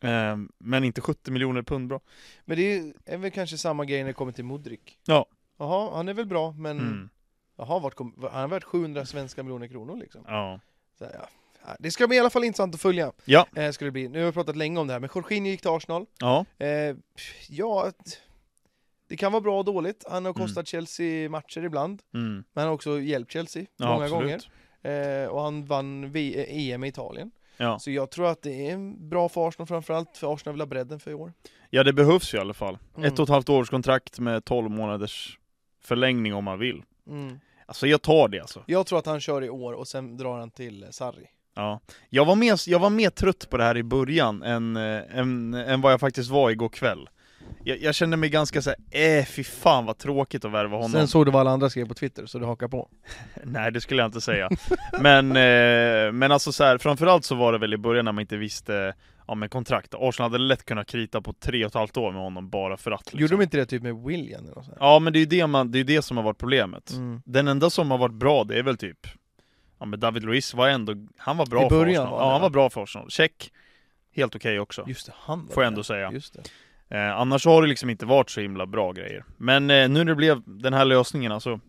Speaker 1: Ehm, Men inte 70 miljoner pund bra
Speaker 2: Men det är, ju- är väl kanske samma grej när det kommer till Modric.
Speaker 1: Ja.
Speaker 2: Jaha, han är väl bra, men
Speaker 1: mm.
Speaker 2: jaha, vart kom, han har värt 700 svenska miljoner kronor liksom.
Speaker 1: Ja,
Speaker 2: Så här, ja. Ja, Det ska bli i alla fall intressant att följa.
Speaker 1: Ja.
Speaker 2: Eh, ska det bli. Nu har vi pratat länge om det här, men Jorginho gick till Arsenal.
Speaker 1: Ja,
Speaker 2: Eh, pff, ja, t- det kan vara bra och dåligt. Han har kostat Chelsea matcher ibland,
Speaker 1: mm.
Speaker 2: men han har också hjälpt Chelsea
Speaker 1: ja
Speaker 2: många
Speaker 1: absolut.
Speaker 2: gånger. Eh, och han vann v- eh, EM i Italien.
Speaker 1: Ja.
Speaker 2: Så jag tror att det är bra för Arsenal framförallt, för Arsenal vill ha bredden för i år.
Speaker 1: ja, det behövs ju i alla fall.
Speaker 2: Mm.
Speaker 1: Ett och ett halvt års kontrakt med 12 månaders förlängning om man vill.
Speaker 2: Mm.
Speaker 1: Alltså jag tar det alltså.
Speaker 2: Jag tror att han kör i år och sen drar han till eh, Sarri.
Speaker 1: Ja. Jag, var mer, jag var mer trött på det här i början än, eh, än, än vad jag faktiskt var igår kväll. Jag, jag kände mig ganska såhär, äh fy fan vad tråkigt att värva honom.
Speaker 2: Sen såg du vad alla andra skrev på Twitter, så du hakar på.
Speaker 1: Nej det skulle jag inte säga. men, eh, men alltså så här, framförallt så var det väl i början när man inte visste Ja men kontrakt, Arsenal hade lätt kunnat krita på tre och ett halvt år med honom bara för att liksom.
Speaker 2: Gjorde de inte det typ med William eller något sånt?
Speaker 1: Ja men det är ju det, man, det, är ju det som har varit problemet.
Speaker 2: här? Mm.
Speaker 1: Den enda som har varit bra det är väl typ Ja men David Luiz var ändå, han var bra
Speaker 2: I början
Speaker 1: för Arsenal.
Speaker 2: var det,
Speaker 1: ja han
Speaker 2: va?
Speaker 1: var bra för Arsenal. Check, helt okej också.
Speaker 2: Just det, han var
Speaker 1: Får jag
Speaker 2: där.
Speaker 1: ändå säga.
Speaker 2: Just det.
Speaker 1: Eh, annars har det liksom inte varit så himla bra grejer. Men eh, nu när det blev den här lösningen alltså,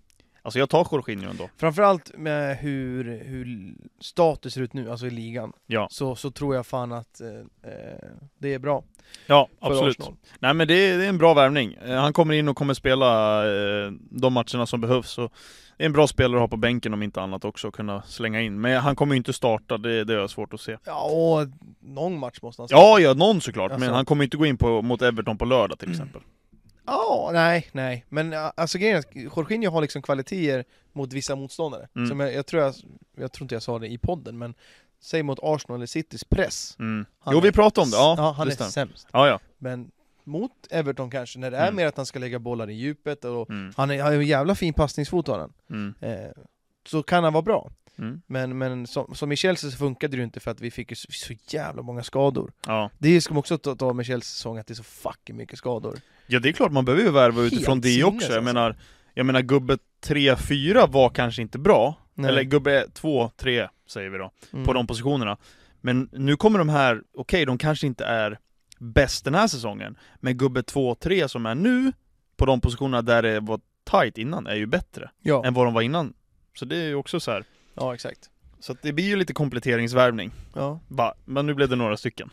Speaker 1: alltså jag tar Jorginho ändå.
Speaker 2: Framförallt med hur, hur status ser ut nu, alltså i ligan,
Speaker 1: Ja,
Speaker 2: så, så tror jag fan att eh, eh, det är bra
Speaker 1: ja
Speaker 2: för
Speaker 1: absolut.
Speaker 2: Arsenal.
Speaker 1: Nej men det är, det är en bra värvning. Eh, Han kommer in och kommer spela eh, de matcherna som behövs. Och det är en bra spelare att ha på bänken om inte annat också, och kunna slänga in. Men han kommer ju inte starta, det, det är svårt att se.
Speaker 2: Ja, och någon match måste han starta.
Speaker 1: Ja, ja, någon såklart,
Speaker 2: Alltså-
Speaker 1: men han kommer inte gå in på, mot Everton på lördag
Speaker 2: Mm.
Speaker 1: till exempel.
Speaker 2: Ja, nej, nej. Men eh, alltså grejen är att Jorginho har liksom kvaliteter mot vissa motståndare.
Speaker 1: Mm.
Speaker 2: Som jag, jag, tror jag, jag tror inte jag sa det i podden, men säg mot Arsenal eller Citys press.
Speaker 1: Mm.
Speaker 2: Han
Speaker 1: Jo, vi
Speaker 2: är
Speaker 1: pratade om det, ja,
Speaker 2: ja han är
Speaker 1: det stämmer.
Speaker 2: sämst.
Speaker 1: Ja, ja.
Speaker 2: Men mot Everton kanske, när det är
Speaker 1: Mm.
Speaker 2: mer att han ska lägga bollar i djupet och
Speaker 1: Mm.
Speaker 2: han är- han har en jävla fin passningsfot har han.
Speaker 1: Mm.
Speaker 2: Eh, så kan han vara bra.
Speaker 1: Mm.
Speaker 2: Men, men som, som i Chelsea så funkade det ju inte för att vi fick ju så, så jävla många skador.
Speaker 1: ja.
Speaker 2: Det ska man också ta, ta med Chelseas säsong, att det är så fucking mycket skador.
Speaker 1: Ja, det är klart man behöver ju värva
Speaker 2: Helt
Speaker 1: utifrån det
Speaker 2: sinnes,
Speaker 1: också.
Speaker 2: alltså.
Speaker 1: Jag menar, jag menar gubbe 3-4 var kanske inte bra.
Speaker 2: Nej.
Speaker 1: Eller gubbe 2-3 säger vi då.
Speaker 2: Mm.
Speaker 1: på de positionerna. Men nu kommer de här, okej de kanske inte är bäst den här säsongen, men gubbe 2-3 som är nu, på de positionerna där det var tight innan, är ju bättre
Speaker 2: Ja,
Speaker 1: än vad de var innan. Så det är ju också så här.
Speaker 2: ja exakt.
Speaker 1: Så att det blir ju lite kompletteringsvärvning.
Speaker 2: Ja,
Speaker 1: Va? Men nu blev det några stycken.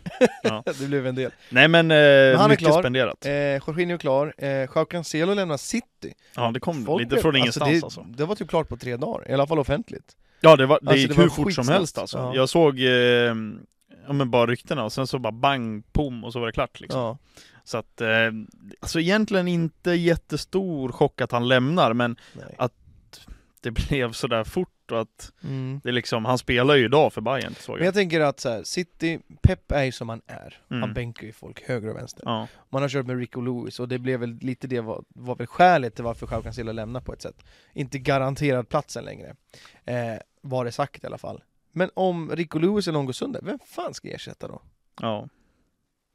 Speaker 2: det blev en del.
Speaker 1: Nej men, eh,
Speaker 2: han är
Speaker 1: mycket
Speaker 2: klar.
Speaker 1: spenderat.
Speaker 2: Eh, Jorginho är klar, eh, Joao Cancelo lämnar City.
Speaker 1: Ja det kom
Speaker 2: Folk
Speaker 1: lite
Speaker 2: blev-
Speaker 1: från ingenstans
Speaker 2: det,
Speaker 1: alltså,
Speaker 2: Det var typ klart på tre dagar, i alla fall offentligt.
Speaker 1: Ja det, var, det
Speaker 2: Alltså,
Speaker 1: gick
Speaker 2: det var
Speaker 1: hur fort som
Speaker 2: skitsnabbt.
Speaker 1: helst alltså.
Speaker 2: Ja.
Speaker 1: Jag såg, eh, ja men bara ryktena och sen så bara bang, pom och så var det klart liksom.
Speaker 2: Ja.
Speaker 1: Så att, eh, alltså egentligen inte jättestor chock att han lämnar, men
Speaker 2: Nej.
Speaker 1: det blev sådär fort och att
Speaker 2: Mm.
Speaker 1: det liksom, han spelar ju idag för Bayern såg
Speaker 2: Men
Speaker 1: jag.
Speaker 2: jag tänker att så här, City, Pep är ju som han är. Han
Speaker 1: Mm.
Speaker 2: bänkar ju folk höger och vänster.
Speaker 1: Ja,
Speaker 2: Man har kört med Rico Lewis och det blev väl lite det var, var väl skälet till varför Joao Cancelo lämnar på ett sätt. Inte garanterad platsen längre. Eh, var det sagt i alla fall. Men om Rico Lewis eller någon går sönder, vem fan ska ersätta då?
Speaker 1: ja.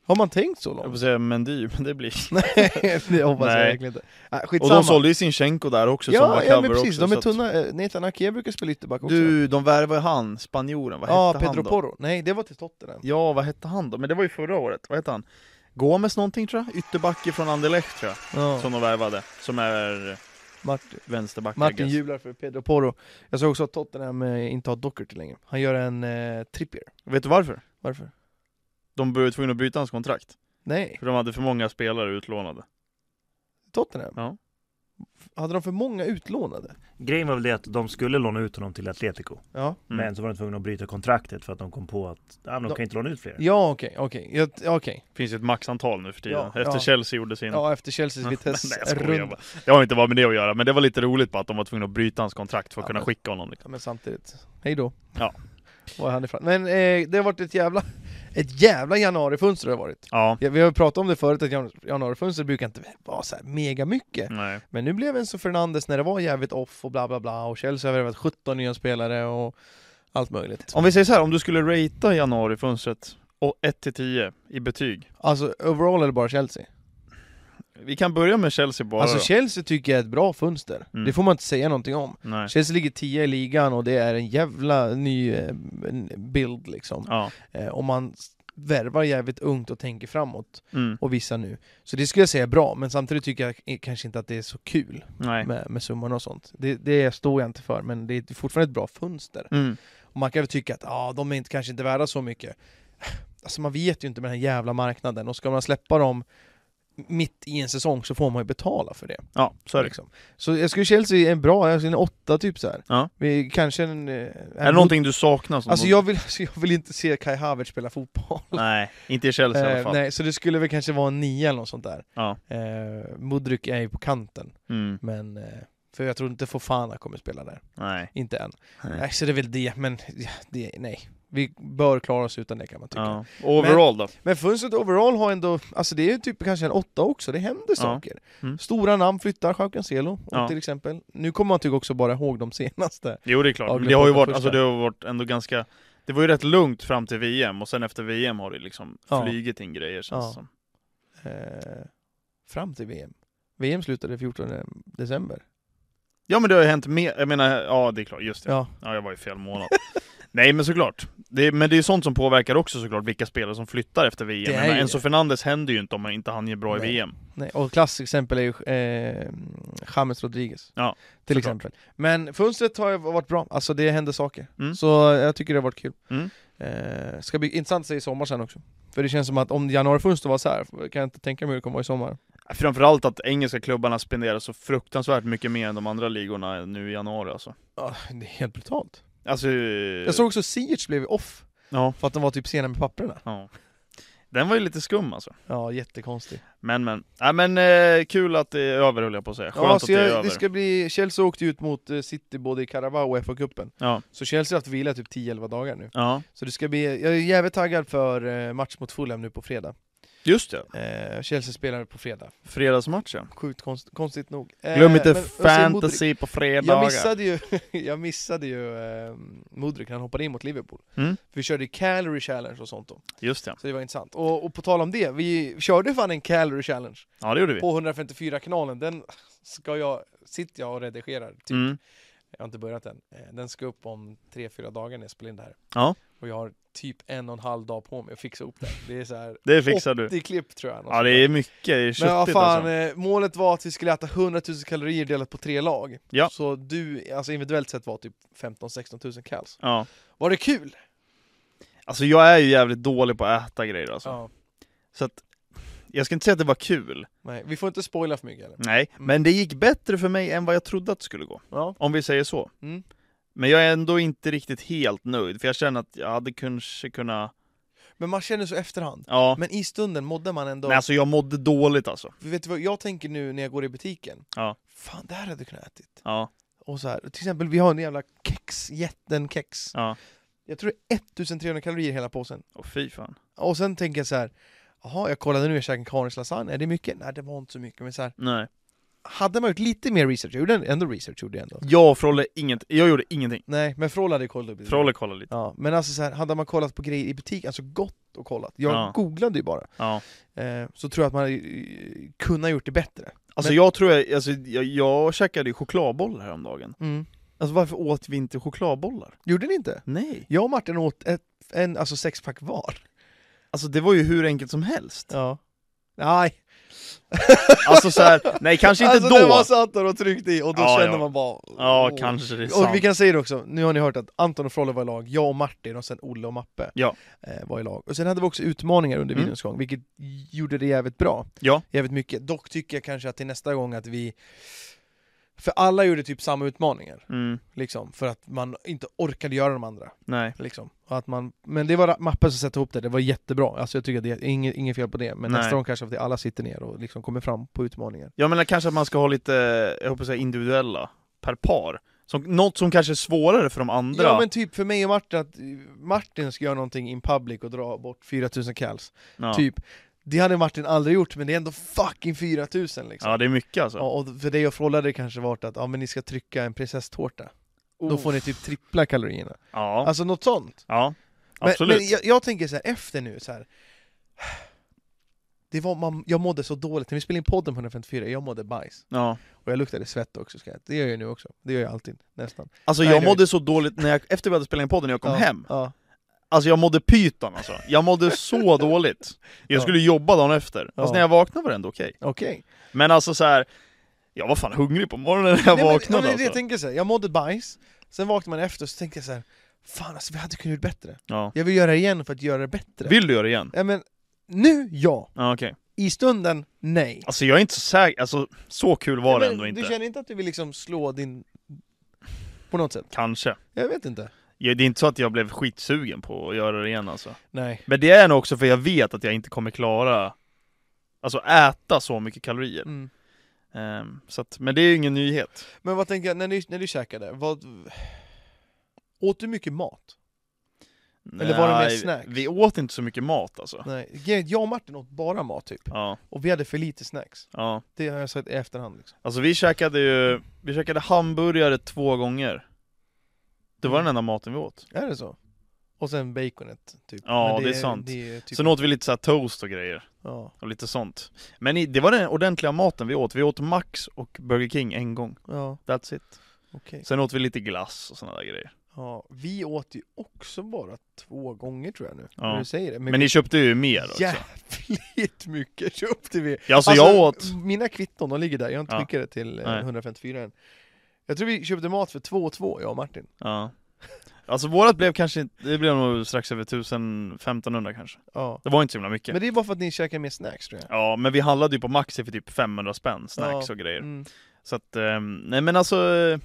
Speaker 2: Har man tänkt så
Speaker 1: Jag
Speaker 2: långt?
Speaker 1: får säga Mendy, men det blir...
Speaker 2: Nej, det hoppas jag
Speaker 1: Nej.
Speaker 2: verkligen inte. Ah,
Speaker 1: Och
Speaker 2: skitsamma.
Speaker 1: de sålde ju Sinchenko där också som var
Speaker 2: ja,
Speaker 1: cover
Speaker 2: ja, men precis.
Speaker 1: också.
Speaker 2: de är
Speaker 1: så att-
Speaker 2: tunna. Eh, Nathan Ake brukar spela ytterback också.
Speaker 1: Du, de värvade han, spanjoren, vad
Speaker 2: ja,
Speaker 1: hette
Speaker 2: Pedro
Speaker 1: han då?
Speaker 2: Porro. Nej, det var till Tottenham.
Speaker 1: Ja, vad hette han då? Men det var ju förra året, vad hette han? Gomes någonting tror jag, ytterbacke från Anderlecht tror jag,
Speaker 2: Ja.
Speaker 1: som de värvade, som är
Speaker 2: Martin,
Speaker 1: vänsterback I
Speaker 2: Martin
Speaker 1: guess.
Speaker 2: jublar för Pedro Porro. Jag såg också att Tottenham eh, inte har Docherty längre. Han gör en eh, trippier.
Speaker 1: Vet du varför?
Speaker 2: Varför?
Speaker 1: De blev tvungna att bryta hans kontrakt,
Speaker 2: Nej,
Speaker 1: för de hade för många spelare utlånade. Mm.
Speaker 2: Tottenham.
Speaker 1: Ja.
Speaker 2: Hade de för många utlånade?
Speaker 3: Grejen var väl det att de skulle låna ut honom till Atletico.
Speaker 2: Ja,
Speaker 1: Mm.
Speaker 3: Men så var de tvungna att bryta kontraktet för att de kom på att ah, men de
Speaker 2: De-
Speaker 3: kan inte låna ut fler.
Speaker 2: ja okej, okej. Ja, t- okej.
Speaker 1: finns ju ett maxantal nu för tiden,
Speaker 2: Ja,
Speaker 1: efter
Speaker 2: ja.
Speaker 1: Chelsea gjorde sin.
Speaker 2: Ja, efter Chelseas
Speaker 1: Nej, jag skojar
Speaker 2: Vitesse-runda.
Speaker 1: bara. Det har inte bara med det att göra, men det var lite roligt bara att de var tvungna att bryta hans kontrakt för att
Speaker 2: Ja,
Speaker 1: kunna
Speaker 2: men-
Speaker 1: skicka honom. Liksom.
Speaker 2: Ja, men samtidigt, hej då.
Speaker 1: Ja.
Speaker 2: Var är han ifrån? Men eh, det har varit ett jävla, ett jävla januarifönster har det varit.
Speaker 1: Ja,
Speaker 2: Ja, vi har ju pratat om det förut, att janu- januarifönster brukar inte vara så här mega mycket.
Speaker 1: nej.
Speaker 2: Men nu blev Enzo Fernandes, när det var jävligt off och bla bla bla, och Chelsea har värvat 17 nya spelare och allt möjligt.
Speaker 1: Om vi säger så här, om du skulle ratea januarifönstret och 1-10 i betyg.
Speaker 2: Alltså overall är det bara Chelsea.
Speaker 1: Vi kan börja med Chelsea bara.
Speaker 2: Alltså
Speaker 1: då.
Speaker 2: Chelsea tycker jag är ett bra fönster.
Speaker 1: Mm.
Speaker 2: Det får man inte säga någonting om.
Speaker 1: nej.
Speaker 2: Chelsea ligger 10 i ligan och det är en jävla ny eh, bild liksom.
Speaker 1: Ja.
Speaker 2: Eh, om man s- värvar jävligt ungt och tänker framåt,
Speaker 1: Mm.
Speaker 2: och vissa nu. Så det skulle jag säga är bra, men samtidigt tycker jag i- kanske inte att det är så kul
Speaker 1: Nej.
Speaker 2: med, med summorna och sånt. Det, det står jag inte för, men det är fortfarande ett bra fönster.
Speaker 1: Mm.
Speaker 2: Och man kan väl tycka att ah, de är inte, kanske inte värda så mycket. Alltså man vet ju inte med den här jävla marknaden, och ska man släppa dem mitt i en säsong så får man ju betala för det.
Speaker 1: Ja, så är det.
Speaker 2: Liksom. Så jag skulle Chelsea är en bra, alltså en åtta typ så här.
Speaker 1: Ja.
Speaker 2: Vi, kanske en... eh,
Speaker 1: Är det någonting du saknar? Som
Speaker 2: Alltså jag vill, alltså jag vill inte se Kai Havertz spela fotboll.
Speaker 1: Nej, inte i Chelsea i alla
Speaker 2: Eh,
Speaker 1: fall.
Speaker 2: nej, så det skulle väl kanske vara en nia eller något sånt där.
Speaker 1: Ja.
Speaker 2: Eh, Mudryk är ju på kanten,
Speaker 1: Mm.
Speaker 2: men... Eh, för jag tror inte Fofana kommer spela där.
Speaker 1: Nej.
Speaker 2: Inte än.
Speaker 1: Nej.
Speaker 2: Nej, så det är väl det, men ja, det, nej. Vi bör klara oss utan det kan man tycka.
Speaker 1: Ja. Overall då?
Speaker 2: Men fönstret overall har ändå, alltså det är typ kanske en åtta också, det händer saker.
Speaker 1: Mm.
Speaker 2: Stora namn flyttar, Jao Cancelo
Speaker 1: Ja.
Speaker 2: till exempel. Nu kommer man tycka också bara ihåg de senaste.
Speaker 1: Jo det är
Speaker 2: Ja,
Speaker 1: klart, men
Speaker 2: glöm
Speaker 1: det har ju
Speaker 2: bort den
Speaker 1: varit,
Speaker 2: första.
Speaker 1: alltså, det har varit ändå ganska Det var ju rätt lugnt fram till VM och sen efter VM har det liksom
Speaker 2: Ja.
Speaker 1: flugit in grejer känns
Speaker 2: Ja.
Speaker 1: det som.
Speaker 2: Eh, fram till VM. VM slutade 14 december.
Speaker 1: Ja men det har ju hänt mer, jag menar, ja det är klart, just det.
Speaker 2: Ja,
Speaker 1: Ja jag var i fel månad. Nej men såklart. Det, men det är ju sånt som påverkar också såklart vilka spelare som flyttar efter VM.
Speaker 2: Det
Speaker 1: Jag
Speaker 2: är
Speaker 1: menar,
Speaker 2: ju
Speaker 1: Enzo
Speaker 2: det.
Speaker 1: Fernandes händer ju inte om han inte han gör bra
Speaker 2: Nej.
Speaker 1: i VM.
Speaker 2: nej. och klassexempel är ju eh, James Rodriguez.
Speaker 1: Ja,
Speaker 2: till
Speaker 1: såklart.
Speaker 2: exempel. Men fönstret har ju varit bra, alltså det händer saker.
Speaker 1: Mm.
Speaker 2: Så jag tycker det har varit kul.
Speaker 1: Mm.
Speaker 2: Eh, ska bli intressant att se i sommar sen också. För det känns som att om januarifönstret var så här, kan jag inte tänka mig hur det kommer vara i sommar.
Speaker 1: Framförallt att engelska klubbarna spenderar så fruktansvärt mycket mer än de andra ligorna nu i januari alltså.
Speaker 2: Ja, det är helt brutalt.
Speaker 1: Alltså...
Speaker 2: Jag såg också Siertz blev off,
Speaker 1: Ja.
Speaker 2: för att de var typ sena med papperna.
Speaker 1: ja. Den var ju lite skum alltså.
Speaker 2: Ja, jättekonstigt.
Speaker 1: Men men, ja, men eh, kul att det är över höll jag på att säga, skönt
Speaker 2: ja,
Speaker 1: att
Speaker 2: så
Speaker 1: det är
Speaker 2: jag,
Speaker 1: över.
Speaker 2: det ska bli, Chelsea åkte ut mot eh, City både i Carabao och FA-cupen.
Speaker 1: Ja,
Speaker 2: Så Chelsea har haft vila typ 10-11 dagar nu.
Speaker 1: ja.
Speaker 2: Så det ska bli, jag är jävligt taggad för eh, match mot Fulham nu på fredag.
Speaker 1: Just det,
Speaker 2: Eh, Chelsea spelar på fredag.
Speaker 1: fredagsmatchen.
Speaker 2: Sjukt konst, konstigt nog. Eh,
Speaker 1: Glöm inte
Speaker 2: men- och så är Modric-
Speaker 1: fantasy på fredagar.
Speaker 2: Jag missade ju, jag missade ju eh, Modric när han hoppade in mot Liverpool.
Speaker 1: Mm.
Speaker 2: För vi körde ju calorie challenge och sånt då.
Speaker 1: Just det,
Speaker 2: Så det var intressant. Och, och på tal om det, vi körde fan en calorie challenge
Speaker 1: ja det gjorde vi.
Speaker 2: på 154-kanalen. Den ska jag, sitter jag och redigerar. Typ.
Speaker 1: Mm.
Speaker 2: Jag har inte börjat än. Eh, Den ska upp om 3-4 dagar när jag spelar in det här.
Speaker 1: Ja.
Speaker 2: Och jag har typ en och en halv dag på mig att fixa upp det. Det är så här
Speaker 1: Det fixar du.
Speaker 2: 80 klipp tror jag. något
Speaker 1: Ja det
Speaker 2: sånt där.
Speaker 1: är mycket, det är köttigt
Speaker 2: Men vad fan,
Speaker 1: alltså.
Speaker 2: eh, målet var att vi skulle äta 100 000 kalorier delat på tre lag.
Speaker 1: Ja.
Speaker 2: Så du, alltså individuellt sett var typ 15-16 000 kals.
Speaker 1: Ja.
Speaker 2: Var det kul?
Speaker 1: Alltså jag är ju jävligt dålig på att äta grejer alltså.
Speaker 2: Ja.
Speaker 1: Så att, jag ska inte säga att det var kul,
Speaker 2: Nej, vi får inte spoila för mycket eller?
Speaker 1: nej.
Speaker 2: Mm.
Speaker 1: Men det gick bättre för mig än vad jag trodde att det skulle gå.
Speaker 2: Ja.
Speaker 1: Om vi säger så.
Speaker 2: Mm.
Speaker 1: Men jag är ändå inte riktigt helt nöjd, för jag känner att jag hade kanske kunnat,
Speaker 2: Men man känner så efterhand.
Speaker 1: ja.
Speaker 2: Men i stunden mådde man ändå...
Speaker 1: Men alltså jag mådde dåligt alltså.
Speaker 2: Vet du vad jag tänker nu när jag går i butiken?
Speaker 1: Ja.
Speaker 2: Fan, där hade du kunnat ätit.
Speaker 1: Ja,
Speaker 2: Och så här, till exempel vi har en jävla kex, jättenkex.
Speaker 1: ja.
Speaker 2: Jag tror det är 1300 kalorier i hela påsen.
Speaker 1: Och fy fan.
Speaker 2: Och sen tänker jag så här, jaha, jag kollade nu, jag käkade en Karins lasagne, är det mycket? Nej, det var inte så mycket, men så här,
Speaker 1: Nej.
Speaker 2: hade man gjort lite mer research, jag gjorde ändå research, gjorde jag ändå.
Speaker 1: Jag och Frolle, inget, jag gjorde ingenting.
Speaker 2: Nej, men Frolla hade kollat upp lite.
Speaker 1: Frolle kollade lite.
Speaker 2: Ja, men alltså så här, hade man kollat på grejer i butik, alltså gott och kollat. Jag
Speaker 1: Ja.
Speaker 2: googlade ju bara.
Speaker 1: Ja.
Speaker 2: Eh, så tror jag att man hade eh, kunnat gjort det bättre.
Speaker 1: Alltså
Speaker 2: Men-
Speaker 1: jag tror jag, alltså, jag, jag käkade ju chokladbollar häromdagen.
Speaker 2: Mm.
Speaker 1: Alltså varför åt vi inte chokladbollar?
Speaker 2: Gjorde ni inte?
Speaker 1: Nej.
Speaker 2: Jag och Martin åt ett, en, alltså sexpack var.
Speaker 1: Alltså det var ju hur enkelt som helst.
Speaker 2: Ja. Nej.
Speaker 1: Alltså så här, nej kanske inte
Speaker 2: alltså
Speaker 1: då.
Speaker 2: när man satt där och tryckte i och då
Speaker 1: Ja,
Speaker 2: kände
Speaker 1: ja.
Speaker 2: man bara...
Speaker 1: Ja,
Speaker 2: åh.
Speaker 1: kanske det är sant.
Speaker 2: Och vi kan säga det också, nu har ni hört att Anton och Frolle var i lag, jag och Martin och sen Olle och Mappe
Speaker 1: Ja.
Speaker 2: eh, var i lag. Och sen hade vi också utmaningar under
Speaker 1: Mm.
Speaker 2: videons gång, vilket gjorde det jävligt bra.
Speaker 1: Ja.
Speaker 2: Jävligt mycket. Dock tycker jag kanske att till nästa gång att vi... För alla gjorde typ samma utmaningar,
Speaker 1: Mm,
Speaker 2: liksom, för att man inte orkade göra de andra.
Speaker 1: nej.
Speaker 2: Liksom. Och att man... Men det var Mappe som satte ihop det, det var jättebra. Alltså jag tycker att det är inget, inget fel på det, men
Speaker 1: Nej.
Speaker 2: nästa gång kanske att vi alla sitter ner och liksom kommer fram på utmaningar.
Speaker 1: Jag menar kanske att man ska ha lite, jag hoppas säga individuella, per par. Som, något som kanske är svårare för de andra.
Speaker 2: Ja men typ för mig och Martin, att eh, Martin ska göra någonting in public och dra bort 4000 kals.
Speaker 1: ja.
Speaker 2: Typ. Det hade Martin aldrig gjort, men det är ändå fucking 4000 liksom.
Speaker 1: Ja det är mycket alltså.
Speaker 2: Ja, och för dig och Frolla hade det kanske varit att ja, men ni ska trycka en prinsesstårta. Då får ni typ trippla kalorierna.
Speaker 1: Ja,
Speaker 2: Alltså något sånt.
Speaker 1: ja.
Speaker 2: Men,
Speaker 1: Absolut.
Speaker 2: men jag, jag tänker så här efter nu så här. Det var, man, jag mådde så dåligt, när vi spelade in podden på 154, jag mådde bajs.
Speaker 1: Ja.
Speaker 2: Och jag luktade svett också, ska jag. det gör jag nu också. Det gör jag alltid, nästan.
Speaker 1: Alltså
Speaker 2: Nej,
Speaker 1: jag
Speaker 2: det-
Speaker 1: mådde så dåligt när jag, efter vi hade spelat in podden när jag kom
Speaker 2: ja,
Speaker 1: hem.
Speaker 2: Ja.
Speaker 1: Alltså jag mådde pyton alltså. Jag mådde så dåligt. Jag
Speaker 2: Ja.
Speaker 1: skulle jobba dagen efter. Fast
Speaker 2: Ja.
Speaker 1: när jag vaknade var det ändå okej.
Speaker 2: Okej.
Speaker 1: Men alltså så här. jag var fan hungrig på morgonen när jag
Speaker 2: Nej, men- ja, men
Speaker 1: vaknade
Speaker 2: det är det
Speaker 1: alltså.
Speaker 2: Jag tänker så här, jag mådde bajs, sen vaknade man efter och så tänkte jag så här, fan alltså vi hade kunnat gjort bättre.
Speaker 1: Ja.
Speaker 2: Jag vill göra det igen för att göra det bättre.
Speaker 1: Vill du göra det igen?
Speaker 2: Ja, men nu ja,
Speaker 1: Ja okej.
Speaker 2: i stunden nej.
Speaker 1: Alltså jag är inte så säker, alltså så kul var
Speaker 2: Ja,
Speaker 1: det
Speaker 2: men
Speaker 1: ändå inte.
Speaker 2: Du känner inte att du vill liksom slå din... På något sätt?
Speaker 1: Kanske.
Speaker 2: Jag vet inte.
Speaker 1: Ja, Det är inte så att jag blev skitsugen på att göra det igen alltså.
Speaker 2: Nej.
Speaker 1: Men det är nog också för jag vet att jag inte kommer klara Alltså äta så mycket kalorier.
Speaker 2: Mm.
Speaker 1: Ehm, så att, men det är ju ingen nyhet.
Speaker 2: Men vad tänker jag, när du, när du käkade, vad... Åt du mycket mat? Eller var det mer
Speaker 1: Nej,
Speaker 2: snacks?
Speaker 1: Vi åt inte så mycket mat alltså.
Speaker 2: Nej. Grejen är att Jag och Martin åt bara mat typ,
Speaker 1: Ja,
Speaker 2: och vi hade för lite snacks.
Speaker 1: ja.
Speaker 2: Det har jag sagt i efterhand liksom.
Speaker 1: Alltså vi käkade ju, vi käkade hamburgare två gånger. Det var den enda maten vi åt.
Speaker 2: Är det så? Och sen baconet typ.
Speaker 1: Ja, det är sant.
Speaker 2: Det är typ,
Speaker 1: Sen åt vi lite så här toast och grejer,
Speaker 2: ja,
Speaker 1: och lite sånt. Men i, det var den ordentliga maten vi åt. Vi åt Max och Burger King en gång.
Speaker 2: ja,
Speaker 1: That's
Speaker 2: Typ.
Speaker 1: it.
Speaker 2: okej.
Speaker 1: Sen åt vi lite glass och såna där grejer.
Speaker 2: Ja, vi åt ju också bara två gånger tror jag nu,
Speaker 1: Ja.
Speaker 2: när du säger det.
Speaker 1: Men, ni köpte ju mer också.
Speaker 2: Jävligt mycket köpte vi!
Speaker 1: Ja, alltså, jag åt...
Speaker 2: Mina kvitton, de ligger där, jag har inte
Speaker 1: Ja.
Speaker 2: skickat det till eh,
Speaker 1: Nej.
Speaker 2: 154 än. Jag tror vi köpte mat för 2 två, jag och Martin.
Speaker 1: Ja. Alltså vårat blev kanske, det blev nog strax över 1000, 1500 kanske.
Speaker 2: Ja.
Speaker 1: Det var inte så himla mycket.
Speaker 2: Men det är bara för att ni käkar mer snacks tror jag.
Speaker 1: Ja, men vi handlade ju på Maxi för typ 500 spänn, snacks
Speaker 2: Ja.
Speaker 1: och grejer.
Speaker 2: Mm.
Speaker 1: Så att, ehm, nej men alltså, eh,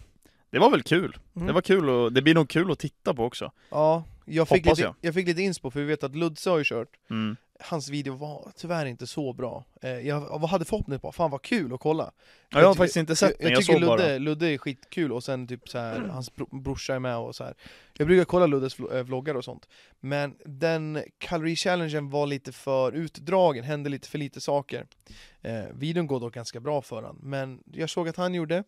Speaker 1: det var väl kul.
Speaker 2: Mm.
Speaker 1: Det var kul och det blir nog kul att titta på också.
Speaker 2: Ja, jag fick,
Speaker 1: Hoppas
Speaker 2: lite, jag.
Speaker 1: jag.
Speaker 2: fick lite inspo för vi vet att Ludse har ju kört,
Speaker 1: Mm.
Speaker 2: hans video var tyvärr inte så bra. Eh, jag hade förhoppningar på, fan vad kul att kolla.
Speaker 1: Ja, jag har
Speaker 2: tycker-
Speaker 1: faktiskt inte sett
Speaker 2: jag,
Speaker 1: den,
Speaker 2: jag
Speaker 1: jag
Speaker 2: tycker
Speaker 1: såg
Speaker 2: Ludde,
Speaker 1: bara. Mm.
Speaker 2: Ludde är skitkul och sen typ så här, hans bro, brorsa är med och så här. Jag brukar kolla Luddes vlo- eh, vloggar och sånt. Men den kalori-challengen var lite för utdragen, hände lite för lite saker. Eh, videon går dock ganska bra för han, men jag såg att han gjorde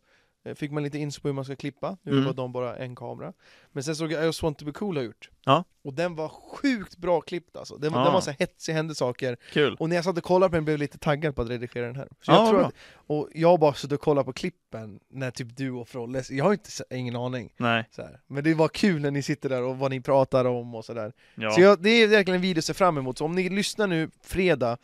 Speaker 2: eh, Fick man lite inspo hur man ska klippa, nu
Speaker 1: Mm.
Speaker 2: var de bara en kamera Men sen såg jag I just want to be cool har gjort
Speaker 1: Ja.
Speaker 2: Och den var sjukt bra klippt alltså, den, var
Speaker 1: Ah.
Speaker 2: den var så här hetsig, hände saker
Speaker 1: Kul.
Speaker 2: och när jag satt och kollade på den blev jag lite taggad på att redigera den här. Så
Speaker 1: Ja,
Speaker 2: jag tror
Speaker 1: bra.
Speaker 2: att, och jag har bara suttit och kollat på klippen när typ du och Frolle, jag har inte, se- ingen aning.
Speaker 1: Nej,
Speaker 2: Så här. Men det var kul när ni sitter där och vad ni pratar om och sådär.
Speaker 1: ja.
Speaker 2: Så jag, det är verkligen en video att se fram emot. Så om ni lyssnar nu fredag,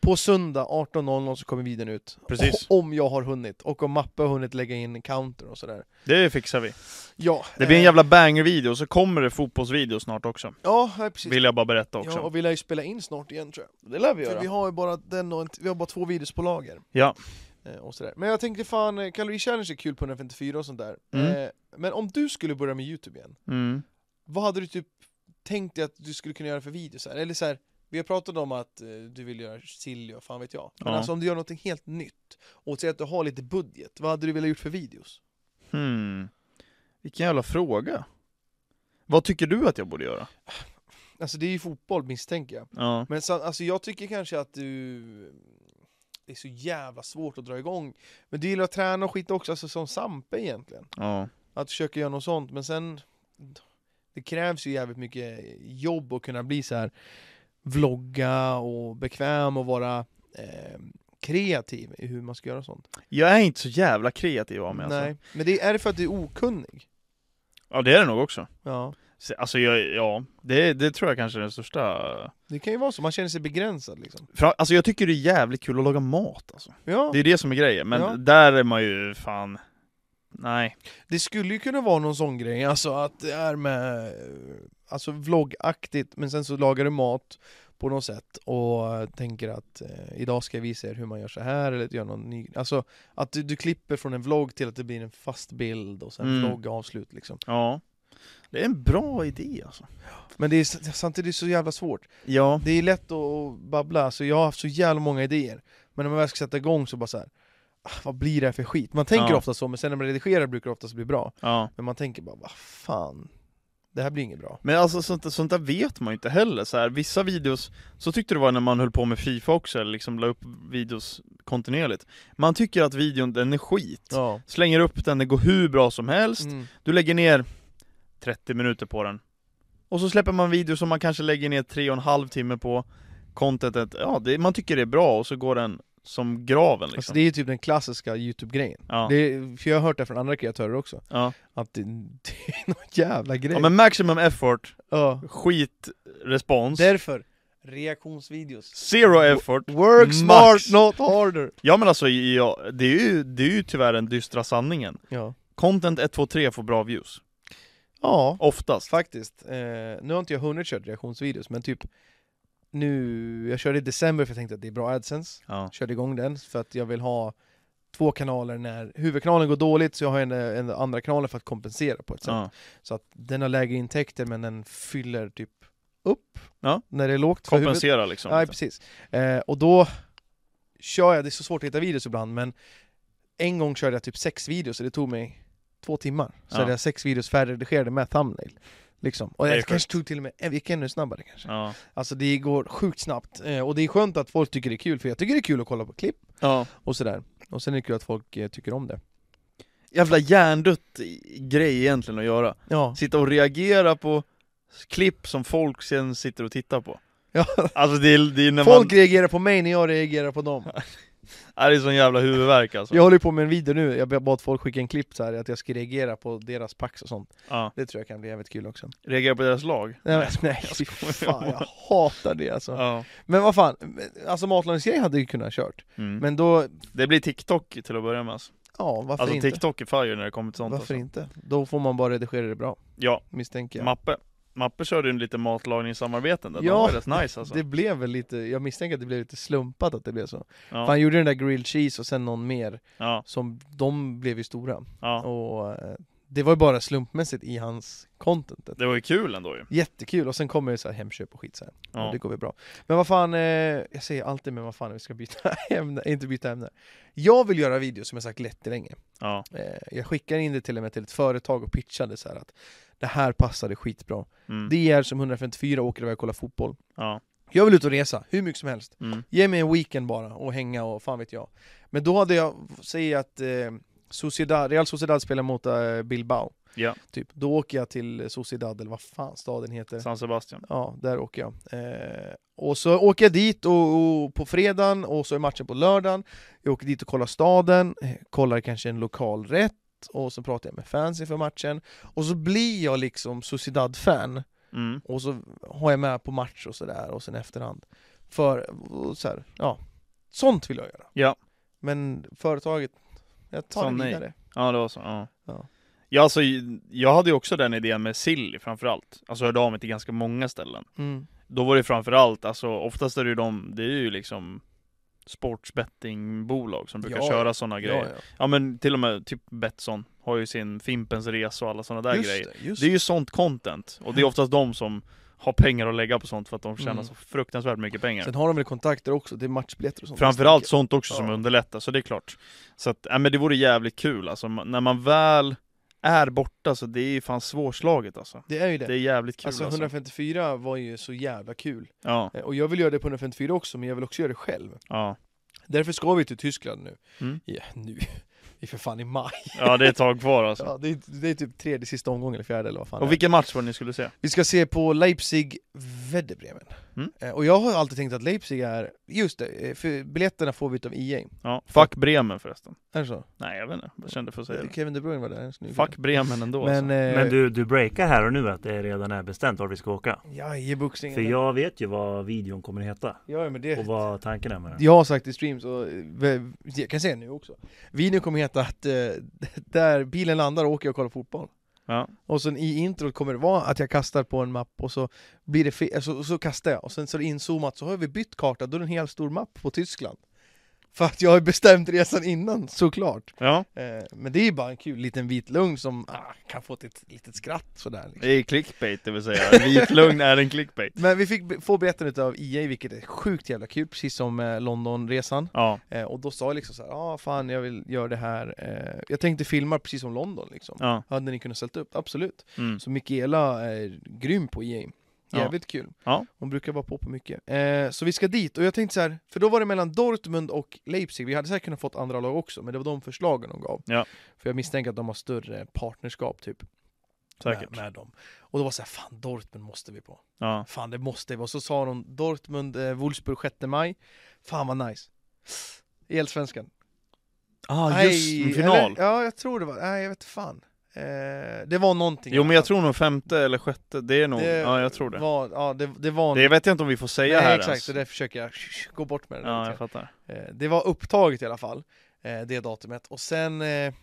Speaker 2: på söndag 18.00 så kommer videon ut.
Speaker 1: Precis.
Speaker 2: Och, om jag har hunnit, och om Mappe har hunnit lägga in counter och sådär.
Speaker 1: Det fixar vi.
Speaker 2: Ja,
Speaker 1: Det blir en
Speaker 2: eh,
Speaker 1: jävla banger-video, så kommer det fotbollsvideo snart också.
Speaker 2: Ja, ja, precis.
Speaker 1: Vill jag bara berätta också.
Speaker 2: Ja, och vi lär ju spela in snart igen tror jag.
Speaker 1: det lär vi
Speaker 2: För vi har ju bara, den och en, vi har bara två videos på lager.
Speaker 1: Ja.
Speaker 2: Eh, och sådär. Men jag tänkte fan, eh, Calorie Challenge är kul på 154 och sånt där.
Speaker 1: Mm.
Speaker 2: Eh, Men om du skulle börja med Youtube igen,
Speaker 1: Mm.
Speaker 2: vad hade du typ tänkt dig att du skulle kunna göra för videos? Här? Eller så här, vi har pratat om att eh, du vill göra sill och fan vet jag. Men
Speaker 1: Ja.
Speaker 2: alltså om du gör något helt nytt och säger att du har lite budget, vad hade du velat gjort för videos?
Speaker 1: Hmm. Vilken jävla fråga. Vad tycker du att jag borde göra?
Speaker 2: Alltså det är ju fotboll misstänker jag.
Speaker 1: Ja.
Speaker 2: Men så, alltså jag tycker kanske att du... Det är så jävla svårt att dra igång. Men du gillar att träna och skit också, alltså som Sampe egentligen.
Speaker 1: ja.
Speaker 2: att försöka göra något sånt, men sen det krävs ju jävligt mycket jobb att kunna bli så här vlogga och bekväm och vara eh, kreativ i hur man ska göra sånt.
Speaker 1: Jag är inte så jävla kreativ av mig alltså.
Speaker 2: Nej, men det är det för att du är okunnig?
Speaker 1: Ja, det är det nog också.
Speaker 2: Ja,
Speaker 1: Så- Alltså jag, ja, det, det tror jag kanske är den största...
Speaker 2: det kan ju vara så, man känner sig begränsad liksom.
Speaker 1: Fra- Alltså jag tycker det är jävligt kul att laga mat alltså.
Speaker 2: Ja,
Speaker 1: Det är det som är grejen, men
Speaker 2: Ja.
Speaker 1: där är man ju fan... Nej.
Speaker 2: det skulle ju kunna vara någon sån grej, alltså att det är med eh, alltså vloggaktigt, men sen så lagar du mat på något sätt och eh, tänker att eh, idag ska jag visa er hur man gör så här eller gör någon ny, alltså att du, du klipper från en vlogg till att det blir en fast bild och sen
Speaker 1: Mm.
Speaker 2: vlogg avslut liksom.
Speaker 1: Ja. Det är en bra idé alltså.
Speaker 2: Men det är s- samtidigt så jävla svårt.
Speaker 1: Ja.
Speaker 2: Det är lätt att babbla, alltså jag har haft så jävla många idéer, men när man väl ska sätta igång så bara så här. "Ah, Vad blir det här för skit? Man tänker
Speaker 1: Ja.
Speaker 2: ofta så, men sen när man redigerar brukar det oftast bli bra.
Speaker 1: ja.
Speaker 2: Men man tänker bara, vad fan, det här blir inget bra.
Speaker 1: Men alltså sånt, sånt där vet man ju inte heller. Så här, vissa videos, så tyckte det var när man höll på med Fifa också, eller liksom la upp videos kontinuerligt. Man tycker att videon, den är skit.
Speaker 2: Ja.
Speaker 1: Slänger upp den, det går hur bra som helst.
Speaker 2: Mm.
Speaker 1: Du lägger ner 30 minuter på den Och så släpper man en video som man kanske lägger ner 3,5 timme på Contentet, ja det, man tycker det är bra och så går den som graven liksom.
Speaker 2: Alltså det är ju typ den klassiska YouTube-grejen.
Speaker 1: ja.
Speaker 2: Det är- För jag har hört det från andra kreatörer också,
Speaker 1: Ja.
Speaker 2: att det, det är någon jävla grej.
Speaker 1: ja men maximum effort,
Speaker 2: Ja.
Speaker 1: skit respons,
Speaker 2: Därför, reaktionsvideos.
Speaker 1: zero effort
Speaker 2: Work
Speaker 1: Max.
Speaker 2: smart, not harder!
Speaker 1: Ja men alltså, ja, det, är ju, det är ju tyvärr den dystra sanningen
Speaker 2: Ja,
Speaker 1: Content 1, 2, 3 får bra views,
Speaker 2: ja
Speaker 1: oftast
Speaker 2: faktiskt. Eh, nu har inte jag hunnit köra reaktionsvideos, men typ nu, jag körde i december för jag tänkte att det är bra AdSense.
Speaker 1: ja.
Speaker 2: Körde igång den för att jag vill ha två kanaler när huvudkanalen går dåligt så jag har en, en andra kanalen för att kompensera på ett sätt.
Speaker 1: Ja.
Speaker 2: Så att den har lägre intäkter men den fyller typ upp
Speaker 1: Ja.
Speaker 2: när det är lågt för huvudet.
Speaker 1: Kompensera liksom
Speaker 2: Ja, precis. Eh, och då kör jag, det är så svårt att hitta videos ibland, men en gång körde jag typ sex videos och det tog mig två timmar. Så
Speaker 1: Ja.
Speaker 2: hade jag sex videos färdigredigerade med thumbnail. Liksom. Och
Speaker 1: Det är
Speaker 2: jag
Speaker 1: sjukt.
Speaker 2: kanske tog till och med en gick ännu snabbare kanske.
Speaker 1: Ja.
Speaker 2: Alltså det går sjukt snabbt. Eh, och det är skönt att folk tycker det är kul, för jag tycker det är kul att kolla på klipp
Speaker 1: Ja.
Speaker 2: och sådär. Och sen är det kul att folk eh, tycker om det.
Speaker 1: Jävla hjärndött i- grej egentligen att göra
Speaker 2: Ja,
Speaker 1: Sitta och reagera på klipp som folk sen sitter och tittar på
Speaker 2: Ja.
Speaker 1: Alltså det är, det är när
Speaker 2: folk
Speaker 1: man,
Speaker 2: reagerar på mig när jag reagerar på dem.
Speaker 1: Ja, det är sån jävla huvudvärk alltså
Speaker 2: Jag håller ju på med en video nu, jag bad folk skicka en klipp så här att jag ska reagera på deras pax och sånt.
Speaker 1: ja.
Speaker 2: Det tror jag kan bli jävligt kul också.
Speaker 1: Reagera på deras lag?
Speaker 2: Nej, men- nej
Speaker 1: jag
Speaker 2: fy
Speaker 1: skojar
Speaker 2: fan,
Speaker 1: bara.
Speaker 2: jag hatar det alltså.
Speaker 1: Ja.
Speaker 2: Men vad fan, alltså matlagningsgrej hade ju kunnat kört.
Speaker 1: Mm.
Speaker 2: Men då,
Speaker 1: Det blir TikTok till att börja med alltså,
Speaker 2: ja varför
Speaker 1: alltså
Speaker 2: inte?
Speaker 1: TikTok är fire när det kommer till sånt
Speaker 2: varför
Speaker 1: alltså.
Speaker 2: inte? Då får man bara redigera det bra,
Speaker 1: Ja,
Speaker 2: misstänker jag.
Speaker 1: Mappe Mappe körde ju lite matlagningssamarbeten där,
Speaker 2: Ja,
Speaker 1: de var rätt nice alltså
Speaker 2: Det blev väl lite, jag misstänker att det blev lite slumpat att det blev så.
Speaker 1: Ja.
Speaker 2: För han gjorde den där grilled cheese och sen någon mer,
Speaker 1: Ja,
Speaker 2: som de blev ju stora.
Speaker 1: ja.
Speaker 2: Och eh, det var ju bara slumpmässigt i hans contentet.
Speaker 1: Det var ju kul ändå ju.
Speaker 2: Jättekul, och sen kommer det så här hemköp och skit så här.
Speaker 1: Ja.
Speaker 2: Och det går väl bra. Men vad fan, eh, jag säger alltid men vad fan vi ska byta ämne, inte byta ämne. Jag vill göra videos som jag sagt lätt länge.
Speaker 1: Ja.
Speaker 2: Eh, jag skickar in det till och med till ett företag och pitchade så här att det här passade skitbra.
Speaker 1: Mm.
Speaker 2: Det är som 154 åker iväg och kollar fotboll.
Speaker 1: ja.
Speaker 2: Jag vill ut och resa, hur mycket som helst.
Speaker 1: Mm.
Speaker 2: Ge mig en weekend bara och hänga och fan vet jag. Men då hade jag, säg att eh, Sociedad, Real Sociedad spelar mot eh, Bilbao.
Speaker 1: Ja.
Speaker 2: Typ. Då åker jag till Sociedad, eller vad fan staden heter.
Speaker 1: San Sebastian.
Speaker 2: Ja, där åker jag. Eh, och så åker jag dit och, och på fredagen och så är matchen på lördagen. Jag åker dit och kollar staden, eh, kollar kanske en lokal rätt och så pratar jag med fans inför matchen. Och så blir jag liksom Sociedad-fan
Speaker 1: Mm.
Speaker 2: och så har jag med på match och sådär och sen efterhand. För och så här, ja, sånt vill jag göra.
Speaker 1: Ja.
Speaker 2: Men företaget, jag tar
Speaker 1: Sa
Speaker 2: det
Speaker 1: nej.
Speaker 2: vidare.
Speaker 1: Ja, det var så. Ja.
Speaker 2: Ja.
Speaker 1: Ja, alltså, jag hade ju också den idén med sill framförallt. Alltså hörde av mig till ganska många ställen.
Speaker 2: Mm.
Speaker 1: Då var det framförallt, alltså oftast är det ju de, det är ju liksom sportsbettingbolag som brukar
Speaker 2: Ja,
Speaker 1: köra sådana
Speaker 2: Ja,
Speaker 1: grejer. Ja.
Speaker 2: ja.
Speaker 1: men till och med typ Betsson har ju sin Fimpens Resa och alla sådana där
Speaker 2: Just
Speaker 1: grejer.
Speaker 2: det, just
Speaker 1: Det är ju sånt content. Och det är oftast de som har pengar att lägga på sånt för att de tjänar
Speaker 2: Mm.
Speaker 1: så fruktansvärt mycket pengar.
Speaker 2: Sen har de väl kontakter också, det är matchbiljetter och sånt.
Speaker 1: Framförallt sånt också
Speaker 2: Ja.
Speaker 1: som underlättar, så det är klart. Så att, ja, men det vore jävligt kul alltså, ma- när man väl är borta så det är ju fan svårslaget alltså.
Speaker 2: Det är ju det.
Speaker 1: Det är jävligt kul alltså.
Speaker 2: Alltså 154 var ju så jävla kul.
Speaker 1: Ja,
Speaker 2: Eh, Och jag vill göra det på 154 också, men jag vill också göra det själv.
Speaker 1: ja.
Speaker 2: Därför ska vi till Tyskland nu.
Speaker 1: Mm.
Speaker 2: Ja, nu. Det är för fan i maj.
Speaker 1: ja, det är ett tag kvar alltså.
Speaker 2: Ja, det, är, det är typ tredje sista omgången, eller fjärde eller vad fan det
Speaker 1: Och
Speaker 2: är.
Speaker 1: vilken match var det ni skulle se?
Speaker 2: Vi ska se på Leipzig Wedderbremen.
Speaker 1: Mm.
Speaker 2: Eh, Och jag har alltid tänkt att Leipzig är... Just det, eh, för biljetterna får vi utav EA.
Speaker 1: Ja. Fuck Bremen förresten.
Speaker 2: Är det så?
Speaker 1: Nej jag vet inte, jag kände för att säga det.
Speaker 2: Kevin De Bruyne var där. en snygg
Speaker 1: Fuck Bremen ändå
Speaker 2: Men,
Speaker 1: alltså.
Speaker 2: eh,
Speaker 3: Men du, du breakar här och nu att det redan är bestämt vart vi ska åka.
Speaker 2: Ja, i boxningen.
Speaker 3: För jag vet ju vad videon kommer att heta
Speaker 2: Ja, men det...
Speaker 3: och vad tanken är med den.
Speaker 2: Jag har sagt i streams, och eh, v- jag kan säga nu också Videon kommer heta att eh, där bilen landar åker jag och kollar fotboll
Speaker 1: Ja.
Speaker 2: Och sen i introt kommer det vara att jag kastar på en mapp och så blir det fel, så, så kastar jag och sen så är det inzoomat så har vi bytt karta, då är det en hel stor mapp på Tyskland För att jag har bestämt resan innan, såklart!
Speaker 1: ja,
Speaker 2: Eh, men det är ju bara en kul liten vit lugn som ah, kan få till ett litet skratt sådär liksom.
Speaker 1: det är clickbait det vill säga. Vit lugn är en clickbait.
Speaker 2: Men vi fick be- få biljetten av EA vilket är sjukt jävla kul, precis som eh, Londonresan
Speaker 1: Ja,
Speaker 2: Eh, och då sa jag liksom så här, ja ah, fan jag vill göra det här, eh, jag tänkte filma precis som London liksom.
Speaker 1: ja.
Speaker 2: Hade ni kunnat ställa upp? Absolut.
Speaker 1: Mm.
Speaker 2: Så Michaela är grym på EA.
Speaker 1: Ja.
Speaker 2: Jävligt kul.
Speaker 1: Ja.
Speaker 2: Hon brukar vara på på mycket. Eh, så vi ska dit, och jag tänkte så här, för då var det mellan Dortmund och Leipzig, vi hade säkert kunnat fått andra lag också, men det var de förslagen de gav.
Speaker 1: Ja.
Speaker 2: För jag misstänker att de har större partnerskap typ.
Speaker 1: Säkert.
Speaker 2: Med, med dem. Och då var det så här, fan Dortmund måste vi på.
Speaker 1: Ja.
Speaker 2: Fan det måste vi. Och så sa de Dortmund, eh, Wolfsburg 6 maj. Fan vad nice. i Allsvenskan.
Speaker 1: Ah,
Speaker 2: Nej,
Speaker 1: just en final!
Speaker 2: Eller, ja, jag tror det var, nej jag vet fan. Eh, det var någonting.
Speaker 1: Jo men jag tror nog femte eller sjätte, det är nog,
Speaker 2: Det
Speaker 1: ja jag tror det.
Speaker 2: Var, ja, det, det var...
Speaker 1: Det vet jag inte om vi får säga
Speaker 2: nej,
Speaker 1: här
Speaker 2: exakt,
Speaker 1: ens.
Speaker 2: och det försöker jag gå bort med det. där
Speaker 1: Ja,
Speaker 2: lite
Speaker 1: jag fattar.
Speaker 2: Eh, Det var upptaget i alla fall, eh, det datumet. Och sen eh,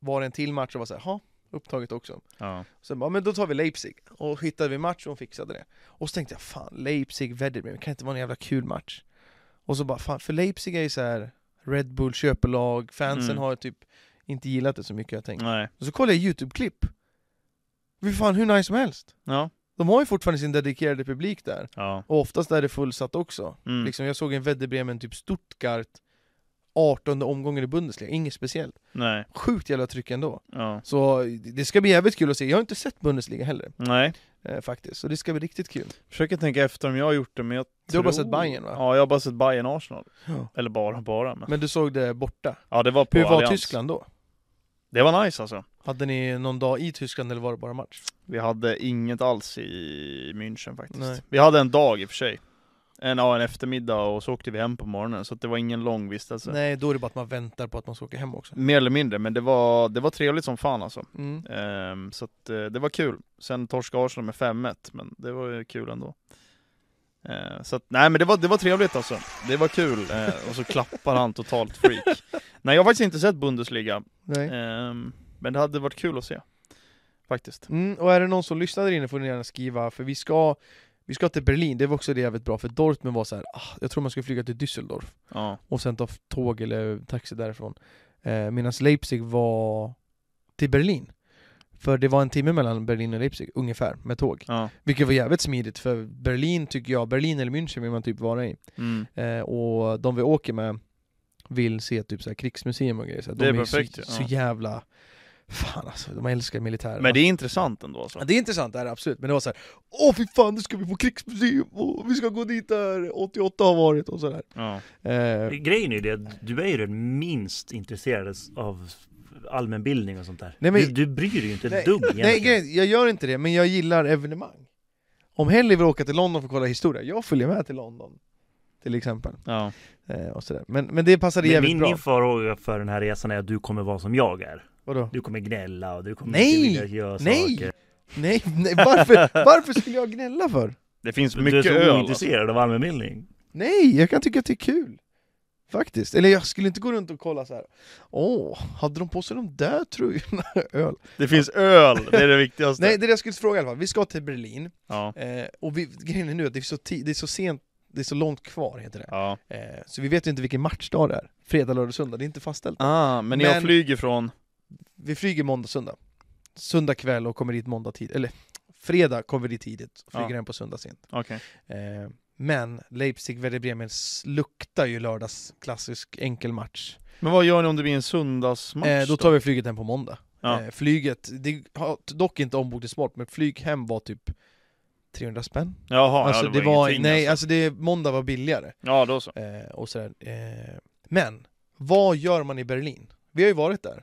Speaker 2: var det en till match och var så här, "Ha, upptaget också.
Speaker 1: Ja.
Speaker 2: Sen bara, men då tar vi Leipzig. Och hittade vi match och hon fixade det. Och så tänkte jag, fan Leipzig, Wedderbrem, det kan inte vara en jävla kul match. Och så bara, fan, för Leipzig är ju så här Red Bull köpelag, fansen
Speaker 1: Mm.
Speaker 2: har ju typ inte gillat det så mycket jag tänker.
Speaker 1: Nej.
Speaker 2: Och så kollade jag YouTube-klipp. Hur fan hur nice som helst.
Speaker 1: Ja.
Speaker 2: De har ju fortfarande sin dedikerade publik där.
Speaker 1: Ja.
Speaker 2: Och oftast är det fullsatt också.
Speaker 1: Mm.
Speaker 2: Liksom, jag såg en Wedderbremen typ Stuttgart 18 omgången i Bundesliga, inget speciellt.
Speaker 1: Nej.
Speaker 2: Sjukt jävla tryck ändå.
Speaker 1: Ja.
Speaker 2: Så det ska bli jävligt kul att se. Jag har inte sett Bundesliga heller
Speaker 1: Nej.
Speaker 2: eh, faktiskt, så det ska bli riktigt kul.
Speaker 1: Försöker tänka efter om jag har gjort det, men jag
Speaker 2: Du har bara
Speaker 1: tror-
Speaker 2: sett Bayern, va?
Speaker 1: Ja, jag har bara sett Bayern Arsenal.
Speaker 2: Ja.
Speaker 1: Eller bara, bara. Men...
Speaker 2: Men du såg det borta.
Speaker 1: Ja, det var på
Speaker 2: Hur var
Speaker 1: Allians.
Speaker 2: Tyskland då?
Speaker 1: Det var nice alltså.
Speaker 2: Hade ni någon dag i Tyskland eller var det bara match?
Speaker 1: Vi hade inget alls i München faktiskt.
Speaker 2: Nej.
Speaker 1: Vi hade en dag i och för sig. En, ja, en eftermiddag och så åkte vi hem på morgonen, så att det var ingen lång vistelse.
Speaker 2: Nej, då är det bara att man väntar på att man ska åka hem också.
Speaker 1: Typ. Mer eller mindre, men det var, det var trevligt som fan alltså.
Speaker 2: Mm.
Speaker 1: Ehm, så att, eh, det var kul. Sen torskade Arsenal med 5-1, men det var ju kul ändå. Eh, så att, nej men det var, det var trevligt alltså. Det var kul. Eh, och så klappar han totalt freak. nej jag har faktiskt inte sett Bundesliga,
Speaker 2: Nej.
Speaker 1: Ehm, men det hade varit kul att se. Faktiskt.
Speaker 2: Mm, och är det någon som lyssnar där inne får ni gärna skriva, för vi ska, vi ska till Berlin, det var också det jävligt bra, för Dortmund var så här, ah, jag tror man ska flyga till Düsseldorf.
Speaker 1: Ja.
Speaker 2: och sen ta f- tåg eller taxi därifrån. Eh, Medan Leipzig var till Berlin. För det var en timme mellan Berlin och Leipzig, ungefär, med tåg.
Speaker 1: ja.
Speaker 2: Vilket var jävligt smidigt, för Berlin tycker jag, Berlin eller München vill man typ vara i.
Speaker 1: Mm.
Speaker 2: Eh, och de vi åker med vill se typ så här krigsmuseum och grejer. Så här,
Speaker 1: Det
Speaker 2: de
Speaker 1: är perfekt,
Speaker 2: ju
Speaker 1: ja.
Speaker 2: så, så jävla... Fan alltså, de älskar militärer.
Speaker 1: Men det är intressant ändå alltså.
Speaker 2: Ja, det är intressant det här, absolut, men det var så här, Åh fy fan, nu ska vi på krigsmuseum och vi ska gå dit där 88 har varit och sådär.
Speaker 1: Ja.
Speaker 2: Eh,
Speaker 3: Grejen är ju det, att du är ju den minst intresserad av allmänbildning och sånt där.
Speaker 2: Nej, men-
Speaker 3: du, du bryr dig ju inte
Speaker 2: Nej,
Speaker 3: ett dugg
Speaker 2: Nej,
Speaker 3: egentligen.
Speaker 2: grejen, jag gör inte det, men jag gillar evenemang. Om Helly vill åka till London för att kolla historia, jag följer med till London. Till exempel.
Speaker 1: Ja.
Speaker 2: Eh, och sådär. Men, men det passade
Speaker 3: Men
Speaker 2: jävligt
Speaker 3: min,
Speaker 2: bra.
Speaker 3: min farhåga för den här resan är att du kommer vara som jag är.
Speaker 2: Vadå?
Speaker 3: Du kommer gnälla och du kommer
Speaker 2: Nej!
Speaker 3: inte vilja göra
Speaker 2: Nej!
Speaker 3: saker.
Speaker 2: Nej, nej varför, varför skulle jag gnälla för?
Speaker 1: Det finns
Speaker 3: Du är
Speaker 1: mycket
Speaker 3: så
Speaker 1: öl. Alltså.
Speaker 3: ointresserad av allmänbildning.
Speaker 2: Nej, jag kan tycka att det är kul. Faktiskt. Eller jag skulle inte gå runt och kolla så här. Åh, hade de på sig de där tröjorna? Öl.
Speaker 1: Det finns öl, det är det viktigaste.
Speaker 2: Nej, det är det jag skulle fråga i alla fall. Vi ska till Berlin.
Speaker 1: Ja.
Speaker 2: Eh, och vi, grejen är nu att det är, så ti- det är så sent, det är så långt kvar heter det.
Speaker 1: ja.
Speaker 2: Eh, så vi vet ju inte vilken matchdag det är. Fredag, lördag, söndag. Det är inte fastställt.
Speaker 1: Ah, men, jag
Speaker 2: Men-
Speaker 1: flyger från...
Speaker 2: Vi flyger måndag, söndag. Söndag kväll och kommer dit måndag tid eller fredag kommer vi dit tidigt, och flyger
Speaker 1: Ja.
Speaker 2: hem på söndag sent.
Speaker 1: Okej.
Speaker 2: Eh, men Leipzig, Werder Bremen s- luktar ju lördags klassisk enkel match.
Speaker 1: Men vad gör ni om det blir en söndagsmatch
Speaker 2: Eh, då tar vi flyget hem på måndag.
Speaker 1: Ja.
Speaker 2: Eh, flyget, det har t- dock inte ombokats bort, men flyg hem var typ 300 spänn.
Speaker 1: Jaha,
Speaker 2: alltså
Speaker 1: ja, det, var, ingenting
Speaker 2: nej,
Speaker 1: alltså.
Speaker 2: alltså det, måndag var billigare.
Speaker 1: Ja, då så.
Speaker 2: Eh, och sådär. Eh, men, vad gör man i Berlin? Vi har ju varit där.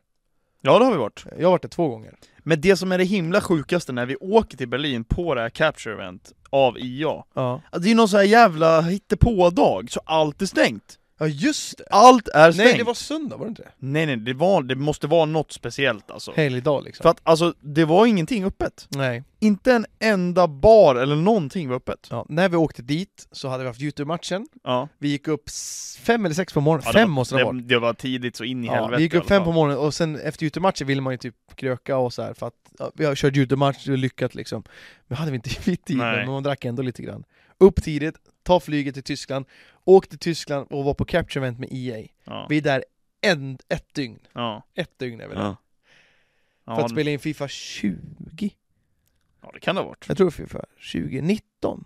Speaker 1: Ja, det har vi varit.
Speaker 2: Jag har varit där två gånger.
Speaker 1: Men det som är det himla sjukaste när vi åker till Berlin på det här Capture Event av IA,
Speaker 2: Ja,
Speaker 1: att det är någon sån här jävla hittepådag, så allt är stängt.
Speaker 2: ja just det!
Speaker 1: Allt är stängt!
Speaker 2: Nej, det var söndag, var det inte det?
Speaker 1: nej, nej det, var, det måste vara något speciellt alltså.
Speaker 2: Helgdag liksom.
Speaker 1: För att alltså, det var ingenting öppet.
Speaker 2: Nej.
Speaker 1: Inte en enda bar eller någonting var öppet.
Speaker 2: Ja, när vi åkte dit så hade vi haft Youtube-matchen.
Speaker 1: Ja.
Speaker 2: Vi gick upp s- fem eller sex på morgonen.
Speaker 1: Ja,
Speaker 2: fem måste det ha
Speaker 1: det,
Speaker 2: varit.
Speaker 1: det var tidigt så in i
Speaker 2: Ja,
Speaker 1: helvete
Speaker 2: vi gick
Speaker 1: i alla
Speaker 2: upp fem på
Speaker 1: fall.
Speaker 2: morgonen och sen efter Youtube-matchen ville man ju typ kröka och så här för att ja, vi har kört Youtube-match och lyckat liksom. Men hade vi inte vid tid,
Speaker 1: Nej.
Speaker 2: men man drack ändå lite grann. Upp tidigt, ta flyget till Tyskland, åk till Tyskland och var på Capture Event med EA.
Speaker 1: Ja.
Speaker 2: Vi är där en, ett dygn.
Speaker 1: Ja.
Speaker 2: Ett dygn är vi där.
Speaker 1: Ja.
Speaker 2: För
Speaker 1: Ja,
Speaker 2: att spela in Fifa 20.
Speaker 1: ja, det kan det ha varit.
Speaker 2: Jag tror Fifa 20, 19.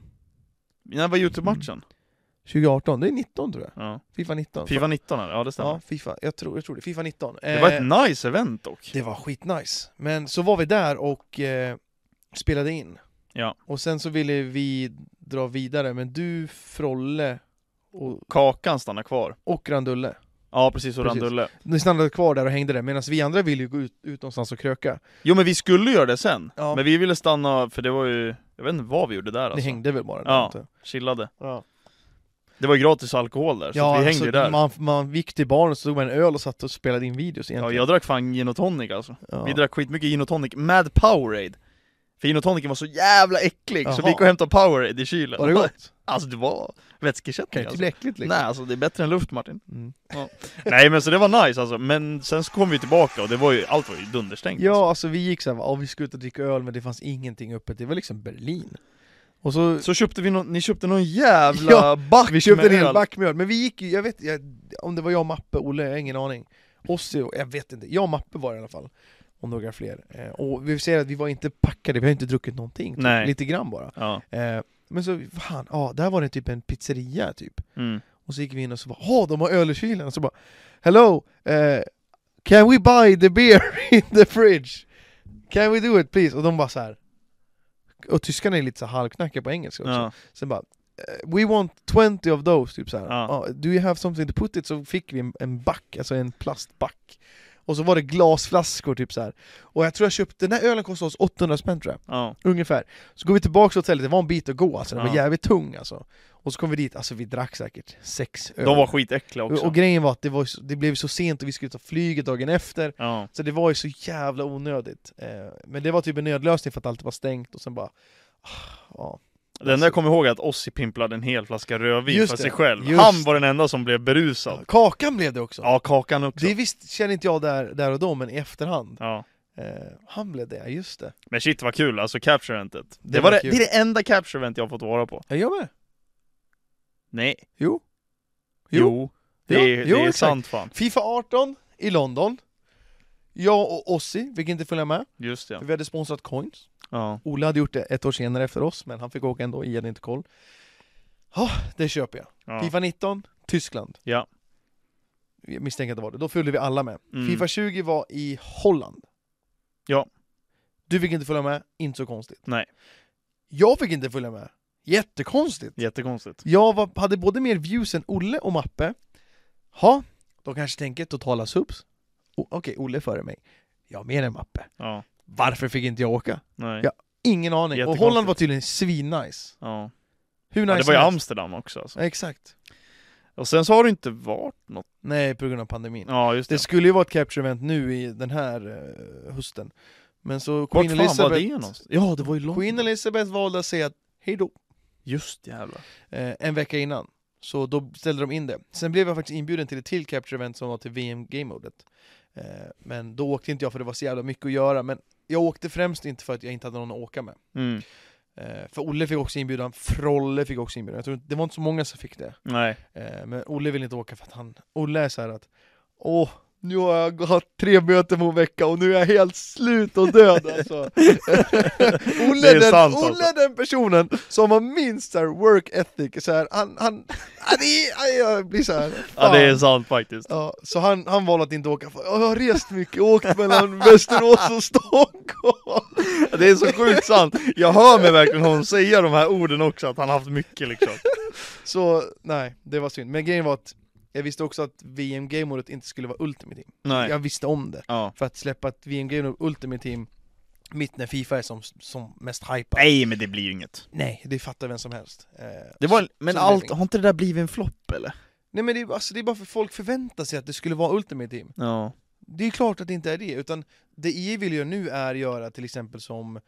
Speaker 1: När var Youtube-matchen?
Speaker 2: 2018, det är 19 tror jag.
Speaker 1: Mm. Ja.
Speaker 2: Fifa 19.
Speaker 1: Fifa 19 eller? Ja, det stämmer.
Speaker 2: Ja, Fifa. Jag tror, jag tror det. Fifa 19.
Speaker 1: Det var
Speaker 2: Eh,
Speaker 1: ett nice event dock.
Speaker 2: det var skitnice. Men så var vi där och eh, spelade in.
Speaker 1: Ja.
Speaker 2: Och sen så ville vi dra vidare, men du, Frolle och,
Speaker 1: Kakan stannar kvar.
Speaker 2: och Randulle,
Speaker 1: Ja, precis. Och
Speaker 2: Precis.
Speaker 1: Randulle.
Speaker 2: ni stannade kvar där och hängde där medan vi andra ville ju gå ut, ut någonstans och kröka.
Speaker 1: Jo, men vi skulle göra det sen.
Speaker 2: Ja.
Speaker 1: Men vi ville stanna, för det var ju... Jag vet inte vad vi gjorde där
Speaker 2: Ni
Speaker 1: alltså.
Speaker 2: hängde väl bara där?
Speaker 1: Ja.
Speaker 2: antar jag.
Speaker 1: Chillade.
Speaker 2: Ja.
Speaker 1: Det var ju gratis alkohol där, så vi hängde ju där.
Speaker 2: alltså, Man, man gick till barn och så tog man en öl och satt och spelade in videos
Speaker 1: Ja,
Speaker 2: egentligen.
Speaker 1: jag drack fan gin och tonic alltså.
Speaker 2: Ja.
Speaker 1: Vi drack skitmycket gin och tonic med Powerade. För gin och tonicen var så jävla äcklig, så
Speaker 2: Jaha.
Speaker 1: vi gick och hämtade Powerade i kylen.
Speaker 2: Var det gott?
Speaker 1: Alltså det var
Speaker 2: Kan
Speaker 1: vätskeersättning
Speaker 2: ju inte
Speaker 1: alltså.
Speaker 2: bli äckligt liksom.
Speaker 1: Nej alltså det är bättre än luft Martin.
Speaker 2: Mm.
Speaker 1: Nej men så det var nice alltså, men sen så kom vi tillbaka och det var ju, allt var ju dunderstängt. alltså.
Speaker 2: Ja, alltså vi gick såhär, ja vi skulle ut och dricka öl men det fanns ingenting öppet, det var liksom Berlin. Och så,
Speaker 1: Så köpte vi någon, ni köpte någon jävla
Speaker 2: Ja,
Speaker 1: back
Speaker 2: vi köpte
Speaker 1: med
Speaker 2: en hel
Speaker 1: öl.
Speaker 2: back med öl, men vi gick ju, jag vet jag, om det var jag, Mappe, Olle, jag har ingen aning. Ossi, och- jag vet inte, jag och Mappe var det i alla fall. Och några fler. Eh, och vi ser att vi var inte packade, vi har inte druckit någonting, typ,
Speaker 1: Nej.
Speaker 2: lite grann bara.
Speaker 1: Ja,
Speaker 2: Eh, men så, fan, ja, där var det typ en pizzeria typ.
Speaker 1: mm.
Speaker 2: Och så gick vi in och så bara Åh, de har öl i kylen! Och så bara Hello! eh, can we buy the beer in the fridge? Can we do it please? Och de bara så här. Och tyskarna är lite så här halvknackiga på engelska också
Speaker 1: ja,
Speaker 2: Sen bara eh, We want 20 of those, typ så här.
Speaker 1: Ja.
Speaker 2: "Ah, Do you have something to put it? Så fick vi en, en back, alltså en plastback Och så var det glasflaskor typ så här. Och jag tror jag köpte, den här ölen kostade oss 800 spänn tror jag
Speaker 1: ja.
Speaker 2: Ungefär. Så går vi tillbaka till hotellet, det var en bit att gå alltså, den var
Speaker 1: Ja.
Speaker 2: jävligt tung alltså. Och så kom vi dit, alltså vi drack säkert sex öl.
Speaker 1: De var skitäckliga också.
Speaker 2: och grejen var att det, var, ju så- det blev så sent och vi skulle ta flyget dagen efter,
Speaker 1: ja.
Speaker 2: så det var ju så jävla onödigt. Eh, men det var typ en nödlösning för att allt var stängt och sen bara... ah, Ja.
Speaker 1: Den där kom ihåg att Ossi pimplade en hel flaska rödvin
Speaker 2: Just
Speaker 1: för
Speaker 2: det,
Speaker 1: sig själv.
Speaker 2: just
Speaker 1: Han var den enda som blev berusad.
Speaker 2: Kakan blev det också!
Speaker 1: Ja, Kakan också.
Speaker 2: det visst känner inte jag där, där och då, men i efterhand.
Speaker 1: Ja.
Speaker 2: Eh, han blev det, just det.
Speaker 1: Men shit vad kul, alltså capture eventet. Det,
Speaker 2: Det
Speaker 1: var
Speaker 2: var
Speaker 1: det,
Speaker 2: kul.
Speaker 1: det är det enda capture event jag har fått vara på.
Speaker 2: Ja, Jag med!
Speaker 1: Nej.
Speaker 2: Jo.
Speaker 1: Jo.
Speaker 2: Jo.
Speaker 1: Det,
Speaker 2: Ja,
Speaker 1: är,
Speaker 2: jo,
Speaker 1: det är
Speaker 2: exakt.
Speaker 1: sant fan.
Speaker 2: Fifa 18 i London. Jag och Ossi fick inte följa med,
Speaker 1: Just det.
Speaker 2: för vi hade sponsrat coins.
Speaker 1: Ja.
Speaker 2: Ola hade gjort det ett år senare efter oss, men han fick åka ändå, Ian hade inte koll. Ja, det köper jag.
Speaker 1: ja.
Speaker 2: Fifa 19, Tyskland.
Speaker 1: Ja.
Speaker 2: Jag misstänker att det var det. Då följde vi alla med.
Speaker 1: Mm.
Speaker 2: Fifa 20 var i Holland.
Speaker 1: Ja.
Speaker 2: Du fick inte följa med, inte så konstigt.
Speaker 1: Nej.
Speaker 2: Jag fick inte följa med, jättekonstigt.
Speaker 1: Jättekonstigt.
Speaker 2: Jag var, hade både mer views än Olle och Mappe. Ja, de kanske tänker totala subs. O- Okej, Olle är före mig. Jag är mer än Mappe.
Speaker 1: Ja.
Speaker 2: Varför fick inte jag åka?
Speaker 1: Nej.
Speaker 2: Ja. Ingen aning. Och
Speaker 1: Jättekonstigt.
Speaker 2: Holland var tydligen svinnice.
Speaker 1: Ja.
Speaker 2: Hur nice
Speaker 1: ja. Det var ju
Speaker 2: som helst.
Speaker 1: Amsterdam också alltså.
Speaker 2: Ja, exakt.
Speaker 1: Och sen så har det inte varit något.
Speaker 2: Nej, på grund av pandemin.
Speaker 1: Ja, just det.
Speaker 2: Det skulle ju vara ett capture event nu i den här eh, hösten. Men så
Speaker 1: Vart
Speaker 2: Queen
Speaker 1: fan
Speaker 2: Elizabeth,
Speaker 1: var det någonstans? Ja, det var ju långt.
Speaker 2: Queen Elizabeth valde att säga hej då
Speaker 1: Just jävlar.
Speaker 2: eh, en vecka innan. Så då ställde de in det. Sen blev jag faktiskt inbjuden till ett till capture event som var till VM Game-modet. Eh, men då åkte inte jag för det var så jävla mycket att göra. Men jag åkte främst inte för att jag inte hade någon att åka med.
Speaker 1: Mm.
Speaker 2: Eh, för Olle fick också inbjudan, Frolle fick också inbjudan. Jag tror, inte- det var inte så många som fick det.
Speaker 1: Nej.
Speaker 2: Eh, Men Olle vill inte åka för att han, Olle är så här att Åh, nu har jag haft tre möten på en vecka och nu är jag helt slut och död alltså. Olle,
Speaker 1: Det är
Speaker 2: är den,
Speaker 1: sant,
Speaker 2: Olle
Speaker 1: alltså.
Speaker 2: är den personen som har minst så här work ethic, så här, han, han, han är, aj, jag blir så här,
Speaker 1: Ja, det är
Speaker 2: fan.
Speaker 1: sant faktiskt.
Speaker 2: Ja, så han, han valde att inte åka, för jag har rest mycket, åkt mellan Västerås och Stockholm.
Speaker 1: Det är så sjukt sant. Jag hör mig verkligen honom säga de här orden också, att han haft mycket liksom.
Speaker 2: Så nej, det var synd. Men grejen var att jag visste också att VM-gameåret inte skulle vara Ultimate Team.
Speaker 1: Nej.
Speaker 2: Jag visste om det.
Speaker 1: Ja.
Speaker 2: för att släppa ett VM-game och Ultimate Team mitt när Fifa är som, som mest hypat.
Speaker 1: Nej, men det blir ju inget.
Speaker 2: Nej, det fattar vem som helst. Eh,
Speaker 1: Det var, men
Speaker 2: så
Speaker 1: allt,
Speaker 2: blev
Speaker 1: har inte det där blivit en flopp eller?
Speaker 2: Nej men det, är- alltså, det är bara för folk förväntar sig att det skulle vara Ultimate Team.
Speaker 1: Ja.
Speaker 2: Det är klart att det inte är det, utan det EA vill göra nu är göra till exempel som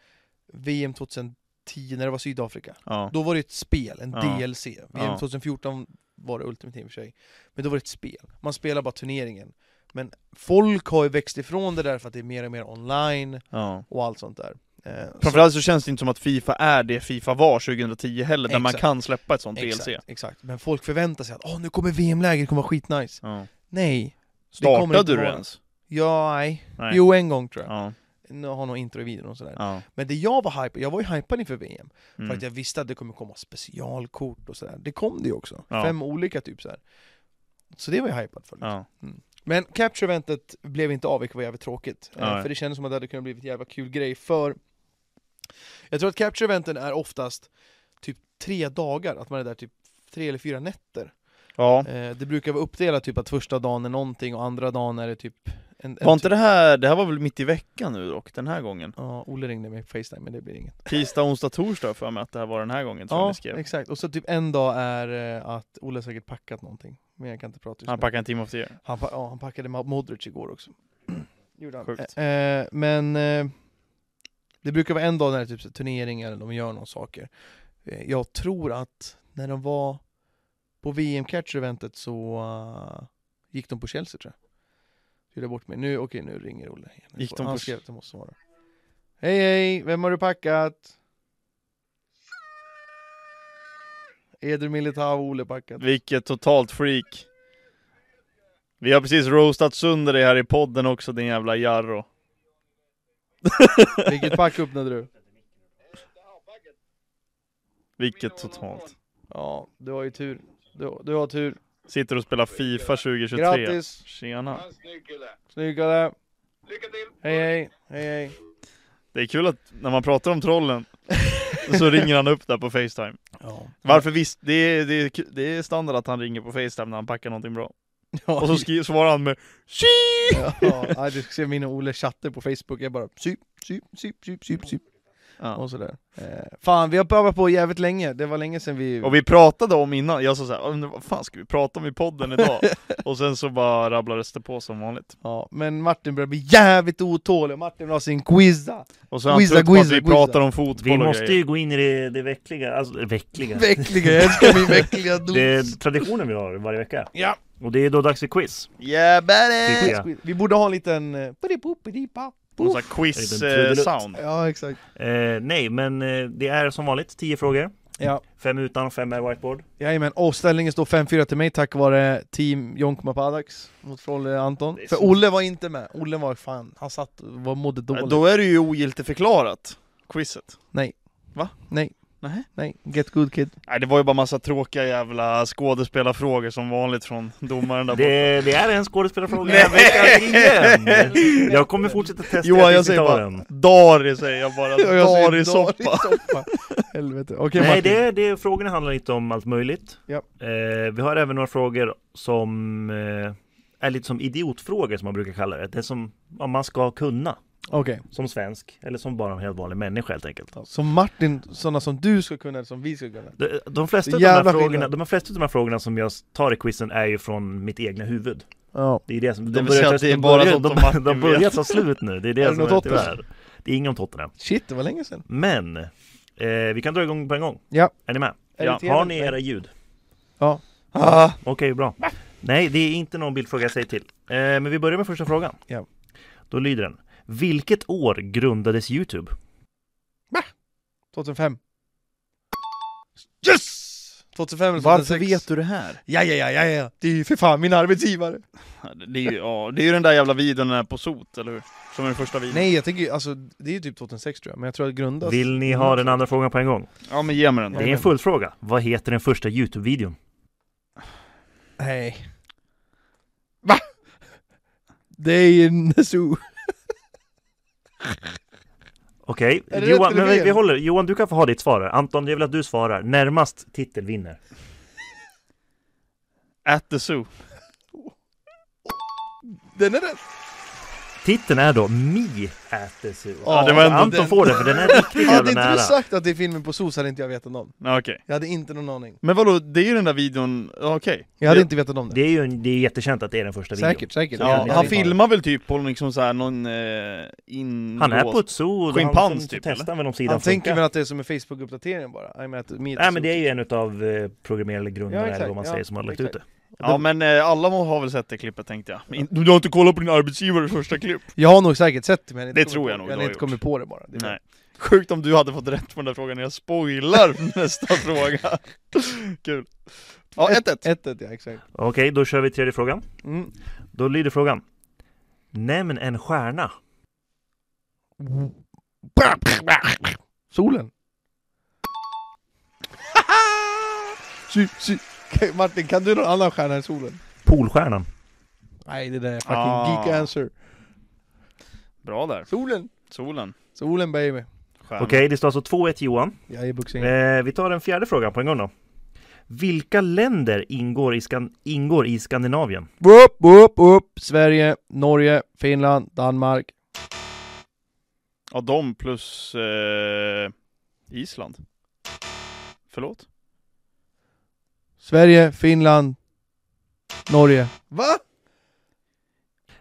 Speaker 2: VM 2010 när det var Sydafrika.
Speaker 1: Ja.
Speaker 2: Då var det ett spel, en
Speaker 1: Ja.
Speaker 2: DLC. VM
Speaker 1: Ja.
Speaker 2: 2014 var det Ultimate Team i och för sig. Men då var det ett spel. Man spelar bara turneringen. Men folk har ju växt ifrån det där för att det är mer och mer online
Speaker 1: ja.
Speaker 2: och allt sånt där. Eh, så-
Speaker 1: Framförallt så känns det inte som att Fifa är det Fifa var 2010 heller, där man
Speaker 2: Exakt.
Speaker 1: kan släppa ett sånt DLC.
Speaker 2: Exakt, exakt, men folk förväntar sig att åh nu kommer VM-läget, det kommer vara skitnice.
Speaker 1: Ja.
Speaker 2: Nej. Det kommer
Speaker 1: Startade
Speaker 2: inte
Speaker 1: du
Speaker 2: vara-
Speaker 1: det ens?
Speaker 2: Ja, nej.
Speaker 1: Nej.
Speaker 2: Jo, en gång tror jag.
Speaker 1: Ja.
Speaker 2: Nu har någon intro i videon och sådär.
Speaker 1: ja.
Speaker 2: Men det jag var hypad, jag var ju hypad inför VM. För
Speaker 1: Mm.
Speaker 2: att jag visste att det kommer komma specialkort och sådär. Det kom det ju också.
Speaker 1: Ja.
Speaker 2: Fem olika typ sådär. Så det var jag hypad för.
Speaker 1: Ja.
Speaker 2: Men Capture-eventet blev inte av, vilket var jävligt tråkigt. Eh,
Speaker 1: Nej.
Speaker 2: För det kändes som att det hade kunnat bli en jävla kul grej för Jag tror att Capture-eventen är oftast typ tre dagar, att man är där typ tre eller fyra nätter.
Speaker 1: ja.
Speaker 2: Eh, det brukar vara uppdelat typ att första dagen är någonting och andra dagen är det typ en, en
Speaker 1: Var inte det här, det här var väl mitt i veckan nu dock, den här gången?
Speaker 2: Ja, Olle ringde mig på Facetime men det blir inget.
Speaker 1: Tisdag, onsdag, torsdag för mig att det här var den här gången tror jag
Speaker 2: Ja,
Speaker 1: ni skrev.
Speaker 2: exakt. Och så typ en dag är eh, att Olle har säkert packat någonting. Men jag kan inte prata just
Speaker 1: Han
Speaker 2: nu.
Speaker 1: packade en timme efter det.
Speaker 2: Han, pa- ja, han packade Ma- Modric igår också. Gjorde han.
Speaker 1: Sjukt.
Speaker 2: Eh, eh, men eh, det brukar vara en dag när det är typ så här turneringar eller de gör någon saker. Eh, jag tror att när de var på VM Catch-eventet så eh, gick de på Chelsea tror jag. Gjorde jag bort mig. Nu, okej, nu ringer Olle. igen. Jag
Speaker 1: Gick
Speaker 2: får-
Speaker 1: de
Speaker 2: han
Speaker 1: på-
Speaker 2: skrev att de måste svara. Hej hej, vem har du packat? Eder Militao och Olle packat.
Speaker 1: Vilket totalt freak. Vi har precis roastat sönder dig här i podden också din jävla Jarro.
Speaker 2: Vilket pack öppnade du?
Speaker 1: Vilket totalt.
Speaker 2: Ja, du har ju tur. Du, du har tur.
Speaker 1: Sitter och spelar Fifa 2023.
Speaker 2: Grattis!
Speaker 1: Tjena.
Speaker 4: Snygg kille.
Speaker 2: Snyggare!
Speaker 4: Lycka till!
Speaker 2: Hej hej! Hej hej!
Speaker 1: Det är kul att när man pratar om trollen så ringer han upp där på Facetime.
Speaker 2: Ja.
Speaker 1: Varför visst, det är, det, är, ku- det är standard att han ringer på Facetime när han packar någonting bra.
Speaker 2: Ja,
Speaker 1: Och så skri- svarar han med Tji!
Speaker 2: ja, ja, du ska se mina och Oles chatter på Facebook, jag bara syp, syp, syp, syp, syp, syp.
Speaker 1: Ja.
Speaker 2: Och sådär. Eh, fan, vi har prövat på jävligt länge, det var länge sedan vi...
Speaker 1: Och vi pratade om innan, jag sa såhär, "Undrar vad fan ska vi prata om i podden idag? Och sen så bara rabblades det på som vanligt.
Speaker 2: Ja, men Martin börjar bli jävligt otålig, och Martin vill ha sin quiza!
Speaker 1: Och så är han
Speaker 2: Quizza,
Speaker 1: trött på att
Speaker 2: quizza,
Speaker 1: vi
Speaker 2: quizza.
Speaker 1: pratar om fotboll
Speaker 3: Vi
Speaker 1: och
Speaker 3: måste
Speaker 1: grejer.
Speaker 3: ju gå in i det, det veckliga, alltså det veckliga.
Speaker 2: Veckliga, jag älskar min veckliga dos!
Speaker 3: Det är traditionen vi har varje vecka.
Speaker 2: Ja.
Speaker 3: Och det är då dags för quiz.
Speaker 1: Yeah buddy!
Speaker 3: Tycker jag.
Speaker 2: Vi borde ha en liten... eh, pidi-pop-pidi-pa,
Speaker 1: Och
Speaker 2: poof.
Speaker 1: så här quiz
Speaker 3: En liten trudelutt.
Speaker 1: eh, sound.
Speaker 2: Ja, exakt.
Speaker 3: Eh, nej, men eh, det är som vanligt 10 frågor.
Speaker 2: Ja.
Speaker 3: Fem utan och fem med whiteboard.
Speaker 2: Jajamän, och ställningen står 5-4 till mig tack vare team Jonkma Padax mot Frolle Anton.
Speaker 3: Det är
Speaker 2: För
Speaker 3: så-
Speaker 2: Olle var inte med, Olle var fan, han satt och var- mådde
Speaker 3: Eh,
Speaker 2: dåligt.
Speaker 1: Då är det ju ogiltigt förklarat, quizet.
Speaker 2: Nej.
Speaker 1: Nähä.
Speaker 2: Nej, get good kid.
Speaker 1: Nej det var ju bara massa tråkiga jävla skådespelarfrågor som vanligt från domaren där borta.
Speaker 3: Det, det är en skådespelarfråga
Speaker 1: Nej.
Speaker 3: den veckan igen! Jag kommer fortsätta testa
Speaker 1: Johan
Speaker 3: tills
Speaker 1: jag
Speaker 3: vi
Speaker 1: säger
Speaker 3: tar
Speaker 1: bara
Speaker 3: den.
Speaker 1: Dari säger jag bara, Dari-soppa.
Speaker 2: Darisoppa. Helvete. Okej
Speaker 3: Nej,
Speaker 2: Martin.
Speaker 3: det, det, frågorna handlar inte om allt möjligt.
Speaker 2: Ja.
Speaker 3: Eh, vi har även några frågor som eh, är lite som idiotfrågor som man brukar kalla det. Det som ja, man ska kunna
Speaker 2: Okej,
Speaker 3: som svensk eller som bara en helt vanlig människa helt enkelt.
Speaker 2: så Martin, sådana som du ska kunna, eller som vi ska kunna.
Speaker 3: De, de,
Speaker 2: Det är
Speaker 3: flesta av de, här
Speaker 2: jävla
Speaker 3: frågorna,
Speaker 2: skillnad.
Speaker 3: de flesta av de här frågorna som jag tar i quizen är ju från mitt egna huvud.
Speaker 2: Ja.
Speaker 3: Det är det som...
Speaker 1: Det vill säga att det är bara
Speaker 3: börjar,
Speaker 1: sånt som
Speaker 3: de,
Speaker 1: Martin
Speaker 3: de börjar
Speaker 1: vet.
Speaker 3: ta slut nu, det är
Speaker 2: Är
Speaker 3: det
Speaker 2: det
Speaker 3: som
Speaker 2: något
Speaker 3: är
Speaker 2: Tottenham?
Speaker 3: tyvärr. Det är inget om Tottenham.
Speaker 2: Shit, det var länge sedan.
Speaker 3: Men, eh, vi kan dra igång på en gång.
Speaker 2: Ja.
Speaker 3: Är ni med?
Speaker 2: Är det
Speaker 3: Har
Speaker 2: trevligt?
Speaker 3: ni era ljud?
Speaker 1: Ah,
Speaker 3: Okej, bra. Nej, det är inte någon bildfråga jag säger till. Eh, men vi börjar med första frågan.
Speaker 2: Ja.
Speaker 3: Då lyder den. Vilket år grundades Youtube?
Speaker 2: 2005. Yes! 2005 eller 2006.
Speaker 1: varför vet du det här?
Speaker 2: Ja, ja, ja, ja, ja. Det är ju för fan min arbetsgivare.
Speaker 1: Ja, det- Det är, ju, ja, det är ju den där jävla videon där på sot, eller hur? Som är den första videon.
Speaker 2: Nej, jag tänker ju- alltså det är ju typ 2006 tror jag, men jag tror att det grundas...
Speaker 3: Vill ni ha
Speaker 2: Mm.
Speaker 3: den andra frågan på en gång?
Speaker 1: Ja men ge mig den då.
Speaker 3: Det är en fullfråga. Vad heter den första Youtube-videon?
Speaker 2: Nej. Va? Det är ju en zoo.
Speaker 3: Okej,
Speaker 2: Är det rätt
Speaker 3: Johan,
Speaker 2: eller
Speaker 3: men vi,
Speaker 2: fel?
Speaker 3: vi håller. Johan, du kan få ha ditt svar. här. Anton, jag vill att du svarar. Närmast titel vinner.
Speaker 1: At the zoo.
Speaker 2: Den är rätt!
Speaker 3: Titeln är då Me at the Zoo.
Speaker 1: Ja, det var ändå-
Speaker 3: Anton får den, för den är riktigt
Speaker 2: Hade
Speaker 3: jävla
Speaker 2: inte du
Speaker 3: nära.
Speaker 2: sagt att det är filmen på SOS hade inte jag vetat om.
Speaker 1: Ja, okej.
Speaker 2: Jag hade inte någon aning.
Speaker 1: Men vadå, det är ju den där videon, ja, okej.
Speaker 2: Jag hade
Speaker 1: Det-
Speaker 2: inte vetat om det.
Speaker 3: Det är ju en, det är jättekänt att det är den första videon.
Speaker 2: Säkert, säkert.
Speaker 1: Ja,
Speaker 3: det-
Speaker 1: han
Speaker 3: det-
Speaker 1: filmar väl typ på liksom såhär någon eh, in...
Speaker 3: Han är på ett zoo. och
Speaker 1: Schimpans
Speaker 3: han
Speaker 1: typ,
Speaker 3: testar väl om sidan
Speaker 2: Han tänker
Speaker 3: funkar.
Speaker 2: väl att det är som en Facebook-uppdatering bara. Nej men att meet
Speaker 3: Nej men det är ju en utav eh, programmerade grunderna
Speaker 2: Ja,
Speaker 3: eller
Speaker 2: exakt,
Speaker 3: vad man
Speaker 2: ja,
Speaker 3: säger som har lagt ut
Speaker 2: exakt.
Speaker 3: det.
Speaker 1: Ja men eh, alla må- har väl sett det klippet tänkte jag. Men in- Du har inte kollat på din arbetsgivares första klipp?
Speaker 2: Jag har nog säkert sett det men jag hade
Speaker 1: Det
Speaker 2: inte
Speaker 1: tror
Speaker 2: kommit
Speaker 1: jag
Speaker 2: på-
Speaker 1: nog
Speaker 2: Jag
Speaker 1: du
Speaker 2: hade
Speaker 1: har
Speaker 2: inte kommit
Speaker 1: gjort.
Speaker 2: på det bara. Det är
Speaker 1: Nej. Sjukt om du hade fått rätt på den där frågan när jag spoilar nästa fråga. Kul. Ja, 1-1.
Speaker 2: 1-1 ja, exakt.
Speaker 3: Okej, då kör vi tredje frågan.
Speaker 2: Mm.
Speaker 3: Då lyder frågan. Nämn en stjärna.
Speaker 2: Solen. sy, sy. Okej, Martin, kan du någon annan stjärna än solen?
Speaker 3: Polstjärnan.
Speaker 2: Nej det där är fucking
Speaker 1: Ah.
Speaker 2: geek answer.
Speaker 1: Bra där.
Speaker 2: Solen.
Speaker 1: Solen.
Speaker 2: Solen baby.
Speaker 1: Stjärnan.
Speaker 3: Okej, det står alltså 2-1 Johan.
Speaker 2: Jag är buxing.
Speaker 3: Eh, vi tar den fjärde frågan på en gång då. Vilka länder ingår i, Skan- ingår i Skandinavien?
Speaker 2: Upp, upp, upp! Sverige, Norge, Finland, Danmark.
Speaker 1: Ja, de plus eh, Island. Förlåt?
Speaker 2: Sverige, Finland, Norge. Va?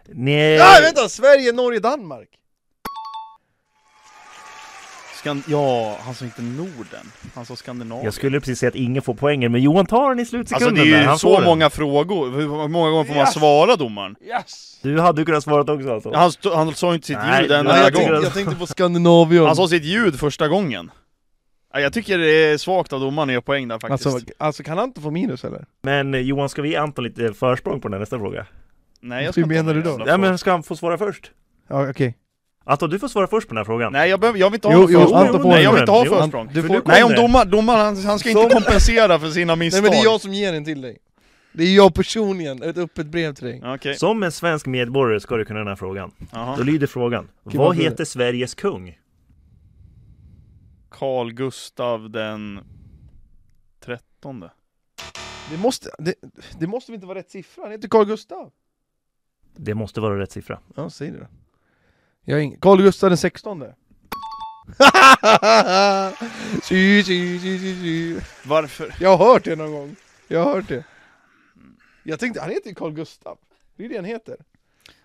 Speaker 3: Nej,
Speaker 2: vänta! Sverige, Norge, Danmark!
Speaker 1: Skan- ja, han sa inte Norden. Han sa Skandinavien.
Speaker 3: jag skulle precis säga att ingen får poängen, men Johan tar den i
Speaker 1: Alltså
Speaker 3: slutsekunden
Speaker 1: det är
Speaker 3: där.
Speaker 1: ju
Speaker 3: Han
Speaker 1: så
Speaker 3: får den.
Speaker 1: många frågor. Hur många gånger får man
Speaker 2: Yes!
Speaker 1: svara domaren?
Speaker 2: Yes!
Speaker 3: Du hade ju kunnat svara också alltså.
Speaker 1: Han, stå- han sa ju inte sitt
Speaker 3: Nej,
Speaker 1: ljud en
Speaker 3: nej,
Speaker 1: enda
Speaker 2: jag,
Speaker 1: gång.
Speaker 2: tänkte, jag tänkte på Skandinavien.
Speaker 1: Han sa sitt ljud första gången. Ja, Jag tycker det är svagt av domaren att göra poäng där faktiskt.
Speaker 2: alltså, alltså kan han inte få minus eller?
Speaker 3: Men eh, Johan, ska vi ge Anton lite försprång på den här nästa fråga?
Speaker 1: Nej,
Speaker 2: Hur
Speaker 1: jag ska inte
Speaker 2: menar
Speaker 1: ha
Speaker 2: du
Speaker 1: någon
Speaker 2: då?
Speaker 1: jävla
Speaker 3: Ja,
Speaker 1: fråga.
Speaker 3: men ska han få svara först?
Speaker 2: Ja, okej.
Speaker 3: Anton, du får svara först på den här frågan.
Speaker 1: Nej jag, behöver, jag vill inte ha
Speaker 2: Jo,
Speaker 1: något
Speaker 2: jo,
Speaker 1: försprång.
Speaker 2: Anton får
Speaker 1: Nej jag
Speaker 3: den.
Speaker 1: vill inte ha
Speaker 3: Jo,
Speaker 1: försprång.
Speaker 2: Du
Speaker 3: För
Speaker 2: får...
Speaker 3: du-
Speaker 1: Nej om
Speaker 3: Kom det.
Speaker 1: domaren, domaren han, han ska inte
Speaker 3: Som-
Speaker 1: kompensera för sina
Speaker 2: Nej
Speaker 1: misstag.
Speaker 2: men det är jag som ger den till dig. Det är jag personligen, ett öppet brev till dig.
Speaker 1: Okej,
Speaker 3: Som en svensk medborgare ska du kunna den här frågan.
Speaker 1: jaha.
Speaker 3: Då lyder frågan.
Speaker 2: Gud, vad
Speaker 3: vad
Speaker 2: bra.
Speaker 3: heter Sveriges kung?
Speaker 1: Carl Gustav den trettonde.
Speaker 2: Det måste, det, det måste väl inte vara rätt siffra? Han heter Carl Gustav.
Speaker 3: Det måste vara rätt siffra.
Speaker 2: Ja, säg det då. Jag har ingen... Carl Gustav den sextonde. Tju, tju, tju, tju, tju.
Speaker 1: Varför?
Speaker 2: Jag har hört det någon gång. Jag har hört det. Jag tänkte, han heter ju Carl Gustav. Det är det han heter.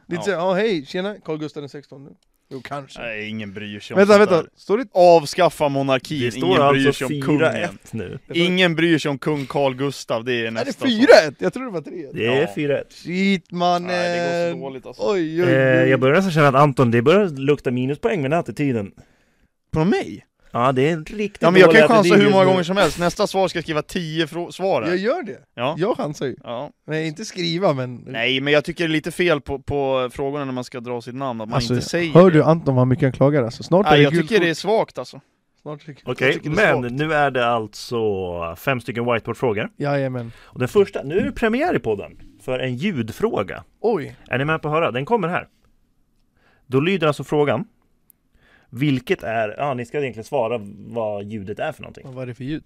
Speaker 2: Det
Speaker 1: Ja.
Speaker 2: är inte ja. såhär, ja hej, tjena, Carl Gustav den 16 nu. Jo, kanske.
Speaker 1: Nej ingen bryr sig om
Speaker 2: vänta,
Speaker 1: sånt
Speaker 2: vänta,
Speaker 1: där.
Speaker 2: står det...
Speaker 1: Avskaffa monarkin, ingen bryr sig om kungen.
Speaker 3: 4-1 alltså nu.
Speaker 1: Ingen bryr sig om kung Carl Gustav, det är
Speaker 2: Är det
Speaker 1: nästa. sak.
Speaker 2: 4-1? Jag trodde det var 3
Speaker 3: Det är
Speaker 1: Ja.
Speaker 3: 4-1.
Speaker 2: Shit mannen!
Speaker 1: Nej det går så dåligt alltså.
Speaker 2: Oj, oj,
Speaker 3: Eh,
Speaker 2: oj.
Speaker 3: jag börjar nästan känna att Anton, det börjar lukta minuspoäng med den här attityden.
Speaker 1: På mig?
Speaker 3: Ja, det är en riktigt
Speaker 1: Ja men jag
Speaker 3: dålig
Speaker 1: kan ju chansa
Speaker 3: attityd
Speaker 1: hur
Speaker 3: just
Speaker 1: många
Speaker 3: nu.
Speaker 1: gånger som helst, nästa svar ska jag skriva 10 frå- svar
Speaker 2: jag
Speaker 1: här.
Speaker 2: gör det.
Speaker 1: Ja.
Speaker 2: Jag chansar ju.
Speaker 1: ja.
Speaker 2: Nej, inte skriva men...
Speaker 1: Nej men jag tycker det är lite fel på, på frågorna när man ska dra sitt namn, att man
Speaker 2: Alltså,
Speaker 1: inte säger det.
Speaker 2: Hör du Anton vad mycket han klagar alltså? Snart är
Speaker 1: Nej,
Speaker 2: det
Speaker 1: jag
Speaker 2: gult
Speaker 1: tycker det
Speaker 2: kort.
Speaker 1: är svagt alltså.
Speaker 2: Snart är det gult
Speaker 3: Okej,
Speaker 1: Jag tycker det är
Speaker 3: men nu är det alltså fem stycken whiteboardfrågor.
Speaker 2: Jajamän.
Speaker 3: Och den första, nu är det premiär i podden för en ljudfråga.
Speaker 2: Oj!
Speaker 3: Är ni med på att höra? Den kommer här. Då lyder alltså frågan. Vilket är, ja ni ska egentligen svara vad ljudet är för någonting.
Speaker 2: Vad är det för ljud?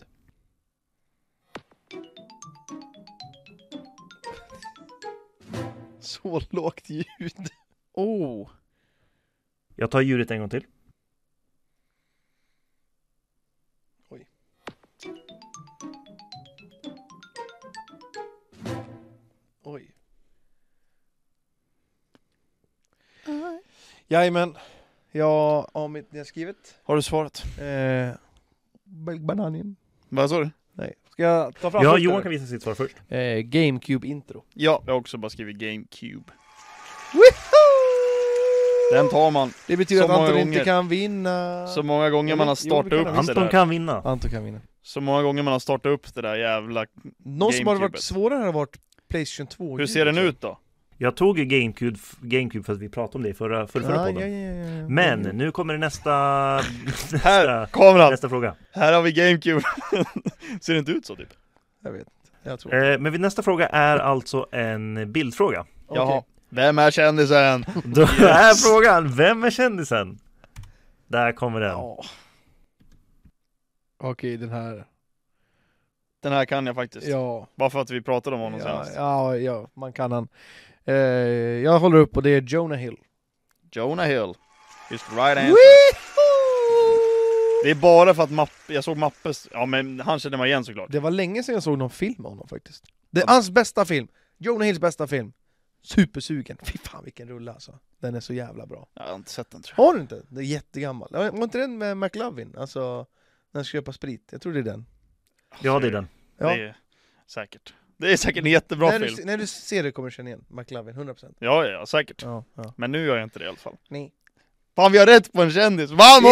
Speaker 2: Så lågt ljud.
Speaker 1: Oh.
Speaker 3: Jag tar ljudet en gång till.
Speaker 2: Oj. Oj. Jajamän. Ja, om inte ni har skrivit.
Speaker 1: Har du svarat?
Speaker 2: Eh, bananen.
Speaker 1: Vad sa du?
Speaker 2: Nej. Ska jag ta fram
Speaker 3: Ja,
Speaker 2: korten?
Speaker 3: Johan kan visa sitt svar först.
Speaker 2: eh, GameCube-intro.
Speaker 1: Ja, jag har också bara skrivit GameCube.
Speaker 2: Woohoo!
Speaker 1: Den tar man
Speaker 2: Det betyder
Speaker 1: Så
Speaker 2: att Anton
Speaker 1: många
Speaker 2: inte
Speaker 1: gånger.
Speaker 2: kan vinna.
Speaker 1: så många gånger man har
Speaker 2: Jo, det
Speaker 1: startat
Speaker 2: kan
Speaker 1: upp
Speaker 2: han.
Speaker 1: det
Speaker 3: Anton
Speaker 1: där.
Speaker 3: kan vinna.
Speaker 2: Anton kan vinna.
Speaker 1: Så många gånger man har startat upp det där jävla...
Speaker 2: Någon som har varit
Speaker 1: GameCubet.
Speaker 2: svårare har varit Playstation 2.
Speaker 1: Hur ser den ut då?
Speaker 3: Jag tog ju GameCube, GameCube för att vi pratade om det i förra, förra, förra
Speaker 2: Ja,
Speaker 3: podden.
Speaker 2: ja, ja, ja.
Speaker 3: Men nu kommer det nästa, nästa,
Speaker 1: Här, kameran!
Speaker 3: nästa fråga.
Speaker 1: Här har vi GameCube. ser det inte ut så typ?
Speaker 2: Jag vet inte. Jag tror.
Speaker 3: Eh, men vid nästa fråga är alltså en bildfråga.
Speaker 2: Okej.
Speaker 1: Jaha. Vem är kändisen?
Speaker 3: Då är frågan, vem är kändisen? Där kommer den.
Speaker 2: Ja. Okej, den här.
Speaker 1: Den här kan jag faktiskt.
Speaker 2: Ja.
Speaker 1: Bara för att vi pratade om honom
Speaker 2: Ja,
Speaker 1: senast.
Speaker 2: ja, ja, man kan han. Eh, jag håller upp och det är Jonah Hill.
Speaker 1: Jonah Hill. Is the right answer.
Speaker 2: Woohoo!
Speaker 1: Det är bara för att Mapp, jag såg Mappes, ja men han känner man igen såklart.
Speaker 2: Det var länge sedan jag såg någon film med honom faktiskt. Det är hans bästa film! Jonah Hills bästa film. Supersugen. Fy fan vilken rulle alltså. Den är så jävla bra.
Speaker 1: Jag har inte sett den tror jag.
Speaker 2: Har du inte? Den är jättegammal. Var var inte den med McLovin? Alltså, när han ska köpa sprit. Jag tror det är den.
Speaker 3: Ja, det är den.
Speaker 2: Ja.
Speaker 1: Det är säkert. Det är säkert en jättebra
Speaker 2: när,
Speaker 1: film.
Speaker 2: du, när du ser det kommer du känna igen McLovin, 100%.
Speaker 1: Ja, ja, ja, säkert.
Speaker 2: Ja, ja.
Speaker 1: Men nu gör jag inte det i alla fall.
Speaker 2: Nej.
Speaker 1: Fan vi har rätt på en kändis! Vamos!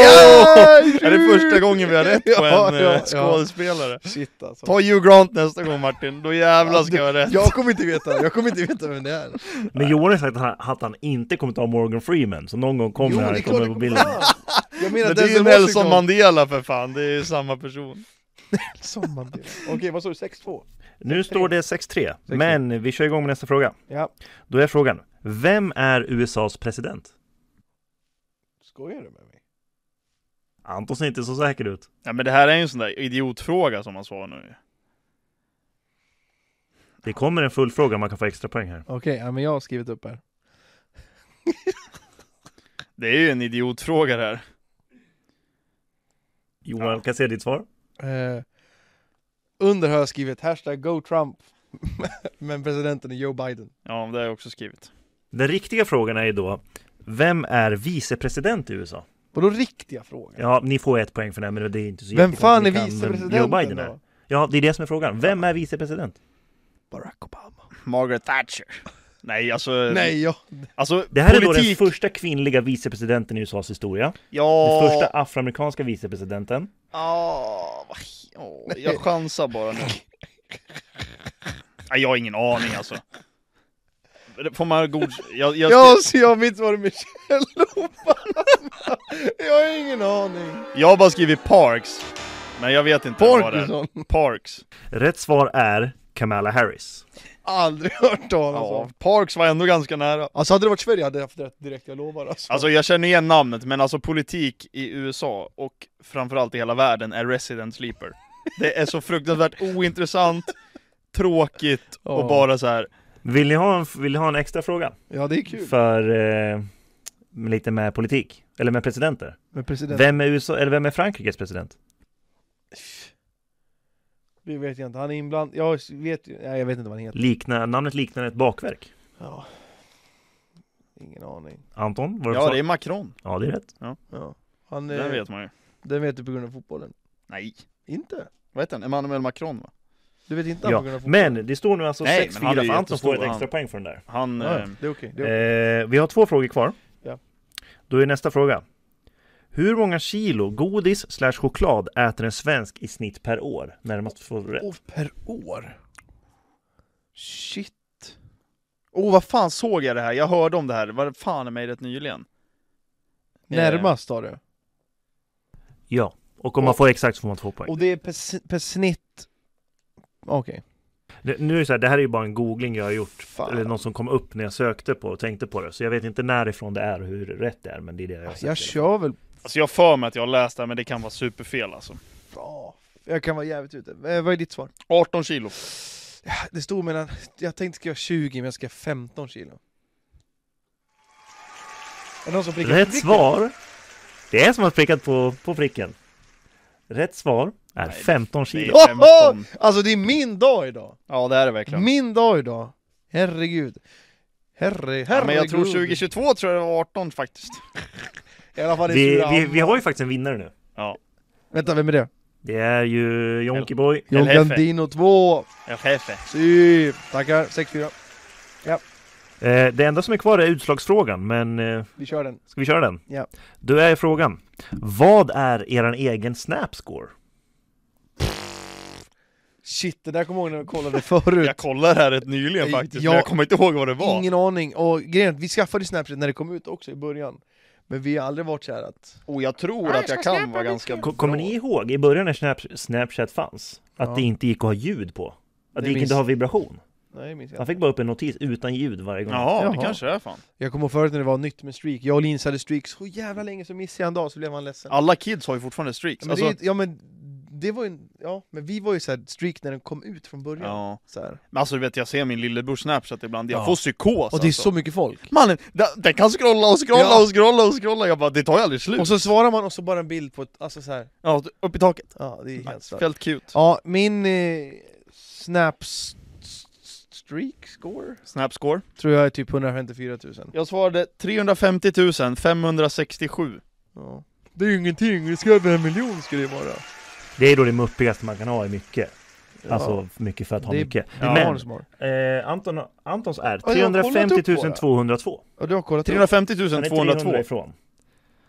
Speaker 1: Är det första gången vi har rätt på
Speaker 2: Ja,
Speaker 1: en eh,
Speaker 2: ja, ja.
Speaker 1: skådespelare?
Speaker 2: Shit alltså.
Speaker 1: Ta Hugh Grant nästa gång Martin, då jävlar ska jag ha rätt!
Speaker 2: Jag kommer inte veta, jag kommer inte veta vem det är.
Speaker 3: Men Johan har sagt att han, att han inte kommer ta Morgan Freeman, så någon gång kommer
Speaker 2: Jo,
Speaker 3: han
Speaker 2: det är klart
Speaker 3: komma
Speaker 2: det
Speaker 3: på bilden.
Speaker 2: fram. Jag menar
Speaker 1: Men det är ju
Speaker 2: Denzel
Speaker 1: Nelson
Speaker 2: Washington.
Speaker 1: Mandela för fan, det är ju samma person.
Speaker 2: Som Mandela. Okej, vad sa du? 6-2?
Speaker 3: Nu står det 6-3, men vi kör igång med nästa fråga.
Speaker 2: Ja.
Speaker 3: Då är frågan, vem är USAs president?
Speaker 2: Skojar du med mig?
Speaker 3: Anton ser inte så säker ut.
Speaker 1: Ja men det här är ju en sån där idiotfråga som man svarar nu
Speaker 3: Det kommer en full fråga man kan få extra poäng här.
Speaker 2: Okej, ja, men jag har skrivit upp här.
Speaker 1: Det är ju en idiotfråga det här.
Speaker 3: Johan, kan jag se ditt svar?
Speaker 2: Eh, under har jag skrivit hashtag go Trump. men presidenten är Joe Biden.
Speaker 1: Ja, det har jag också skrivit.
Speaker 3: Den riktiga frågan är ju då, vem är vicepresident i USA?
Speaker 2: Vadå riktiga frågan?
Speaker 3: Ja, ni får ett poäng för det, men det är inte så
Speaker 2: Vem
Speaker 3: jättekonstigt.
Speaker 2: fan är
Speaker 3: Ni kan, men
Speaker 2: vicepresidenten
Speaker 3: Joe Biden är.
Speaker 2: då?
Speaker 3: Ja, det är det som är frågan. Vem är vicepresident?
Speaker 2: Barack Obama.
Speaker 1: Margaret Thatcher. Nej,
Speaker 3: Eh,
Speaker 1: alltså...
Speaker 2: Nej, ja.
Speaker 1: Alltså,
Speaker 3: Det här är då den
Speaker 1: politik...
Speaker 3: första kvinnliga vicepresidenten i USAs historia.
Speaker 1: Ja...
Speaker 3: Den första afroamerikanska vicepresidenten.
Speaker 1: Ah, vad- åh, jag chansar bara nu. Nej, jag har ingen aning alltså. Får man god... Jag, jag,
Speaker 2: Ja, så jag mitt var det Michelle Obama. jag har ingen aning.
Speaker 1: jag har bara skrivit Parks. Men jag vet inte vad det är.
Speaker 2: Parkinson.
Speaker 1: Parks.
Speaker 3: Rätt svar är Kamala Harris.
Speaker 2: Aldrig hört talas om.
Speaker 1: Ja, Parks var ändå ganska nära.
Speaker 2: Alltså hade det varit Sverige hade jag haft rätt direkt, jag lovar alltså.
Speaker 1: Alltså jag känner igen namnet, men alltså politik i USA och framförallt i hela världen är resident sleeper. Det är så fruktansvärt ointressant, tråkigt och
Speaker 2: Ja.
Speaker 1: bara så här.
Speaker 3: Vill ni ha en, vill ni ha en extra fråga?
Speaker 2: Ja det är kul.
Speaker 3: För eh, lite med politik, eller med presidenter.
Speaker 2: Men president,
Speaker 3: Vem är, USA, eller vem är Frankrikes president?
Speaker 2: det vet jag inte, han är inblandad, jag vet ju, nej jag vet inte vad han heter.
Speaker 3: Liknar, namnet liknar ett bakverk.
Speaker 2: Ja. Ingen aning.
Speaker 3: Anton, vad
Speaker 1: Ja,
Speaker 3: du
Speaker 1: det är
Speaker 3: det...
Speaker 1: Macron.
Speaker 3: ja, det är rätt.
Speaker 2: Ja. Han
Speaker 1: Det
Speaker 2: är,
Speaker 1: vet man ju.
Speaker 2: den vet du på grund av fotbollen.
Speaker 1: Nej.
Speaker 2: Inte?
Speaker 1: Vad heter han? Emmanuel Macron va?
Speaker 2: Du vet inte han
Speaker 3: Ja.
Speaker 2: på grund av fotbollen?
Speaker 3: Men det står nu alltså
Speaker 1: Nej,
Speaker 3: 6-4
Speaker 1: men han är ju
Speaker 3: för Anton får ett
Speaker 1: jättestor,
Speaker 3: extra
Speaker 1: han.
Speaker 3: poäng för den där.
Speaker 1: Han...
Speaker 2: Ja,
Speaker 1: Eh,
Speaker 2: ja. det är okej. det är okej.
Speaker 3: Eh, vi har två frågor kvar.
Speaker 2: Ja.
Speaker 3: Då är nästa fråga. Hur många kilo godis slash choklad äter en svensk i snitt per år? Närmast får du rätt.
Speaker 2: Åh, per år? Shit.
Speaker 1: oh, vad fan såg jag det här? Jag hörde om det här, vad fan är mig rätt nyligen. Eh,
Speaker 3: Eh,
Speaker 2: Närmast har du.
Speaker 3: Ja, och om man får exakt så får man två poäng.
Speaker 2: Och det är per, s- per snitt... Okej.
Speaker 3: Det, nu är det så här, det här är ju bara en googling jag har gjort.
Speaker 2: Fan.
Speaker 3: Eller något som kom upp när jag sökte på och tänkte på det. Så jag vet inte närifrån det är och hur rätt det är. Men det är det jag har sett.
Speaker 2: Jag kör väl
Speaker 1: Alltså jag för mig att jag har läst det här, men det kan vara superfel alltså.
Speaker 2: bra. Jag kan vara jävligt ute. Eh, vad är ditt svar?
Speaker 1: 18 kilo.
Speaker 2: Ja, Det stod mellan... Jag tänkte skriva 20 men jag skrev 15 kilo. Är det någon som prickar
Speaker 3: Rätt
Speaker 2: pricken?
Speaker 3: svar. Det är som att prickat på, på pricken. Rätt svar
Speaker 1: Nej,
Speaker 3: är
Speaker 1: det-
Speaker 3: 15
Speaker 1: det är-
Speaker 3: kilo.
Speaker 2: Oho! Alltså det är min dag idag!
Speaker 1: Ja det är det verkligen.
Speaker 2: Min dag idag! Herregud. Herre, herregud.
Speaker 1: ja, men jag tror 2022 tror jag det var 18 faktiskt.
Speaker 2: I alla fall i
Speaker 3: Vi,
Speaker 2: Sura
Speaker 3: vi,
Speaker 2: Hammar.
Speaker 3: vi har ju faktiskt en vinnare nu.
Speaker 2: Vänta, vem är det?
Speaker 3: Det är ju Jonkeboy.
Speaker 2: John
Speaker 1: Eller Hefe.
Speaker 2: Gandino 2!
Speaker 1: Ja, chefe.
Speaker 2: Sy. Typ. Tackar, 6-4.
Speaker 3: Eh, det enda som är kvar är utslagsfrågan, men eh,
Speaker 2: Vi kör den.
Speaker 3: ska vi köra den?
Speaker 2: Ja.
Speaker 3: Då är frågan. Vad är eran egen snapscore?
Speaker 2: Shit, det där kommer jag ihåg när vi kollade förut.
Speaker 1: Jag kollade här rätt nyligen
Speaker 2: Jag-
Speaker 1: faktiskt, men jag kommer inte ihåg vad det var.
Speaker 2: Ingen aning, och grejen är att vi skaffade Snapchat när det kom ut också i början Men vi har aldrig varit så här att
Speaker 1: Och jag tror att jag kan vara ganska
Speaker 3: Ko- Kommer ni ihåg i början när Snap- Snapchat fanns? Att
Speaker 2: Ja.
Speaker 3: det inte gick att ha ljud på? Att det
Speaker 2: Det
Speaker 3: gick
Speaker 2: minns-
Speaker 3: inte att ha vibration?
Speaker 2: Nej, minns jag
Speaker 3: Man
Speaker 2: inte.
Speaker 3: fick bara upp en notis utan ljud varje gång.
Speaker 1: Jaha, det
Speaker 2: Jaha.
Speaker 1: kanske det är fan.
Speaker 2: Jag kommer ihåg förut när det var nytt med streak, jag och Linus hade streak så jävla länge så missade jag en dag så blev man ledsen
Speaker 1: Alla kids har ju fortfarande streaks.
Speaker 2: men
Speaker 1: Alltså,
Speaker 2: det, är- Ja men det var ju, en- ja men vi var ju så här streak när den kom ut från början
Speaker 1: ja.
Speaker 2: så här.
Speaker 1: Men alltså du vet, jag ser min lillebrors snapchat ibland, jag
Speaker 3: Ja.
Speaker 1: får psykos
Speaker 2: Och det är
Speaker 1: alltså.
Speaker 2: så mycket folk!
Speaker 1: Mannen, den, den kan scrolla och scrolla
Speaker 2: Ja.
Speaker 1: och scrolla och scrolla, jag bara det tar ju aldrig slut.
Speaker 2: Och så svarar man och så bara en bild på ett, alltså så här.
Speaker 1: Ja, upp i taket.
Speaker 2: ja det är helt stört
Speaker 1: Fält cute.
Speaker 2: Ja, min eh, snaps streak score
Speaker 1: Snapscore.
Speaker 2: tror jag är typ 154 000
Speaker 1: Jag svarade 350 567
Speaker 2: ja. Det är ju ingenting, det ska över en miljon ska det ju vara
Speaker 3: Det är då det muppigaste man kan ha i mycket.
Speaker 2: Ja.
Speaker 3: Alltså mycket för att ha
Speaker 2: Det är-
Speaker 3: mycket.
Speaker 1: det är barn
Speaker 2: som har.
Speaker 3: Men eh, Anton, Antons är
Speaker 2: Ja, jag har kollat upp
Speaker 3: 350
Speaker 2: på det.
Speaker 3: 202.
Speaker 2: Ja, du har kollat
Speaker 1: 350
Speaker 3: Han är 300
Speaker 1: 202
Speaker 3: ifrån.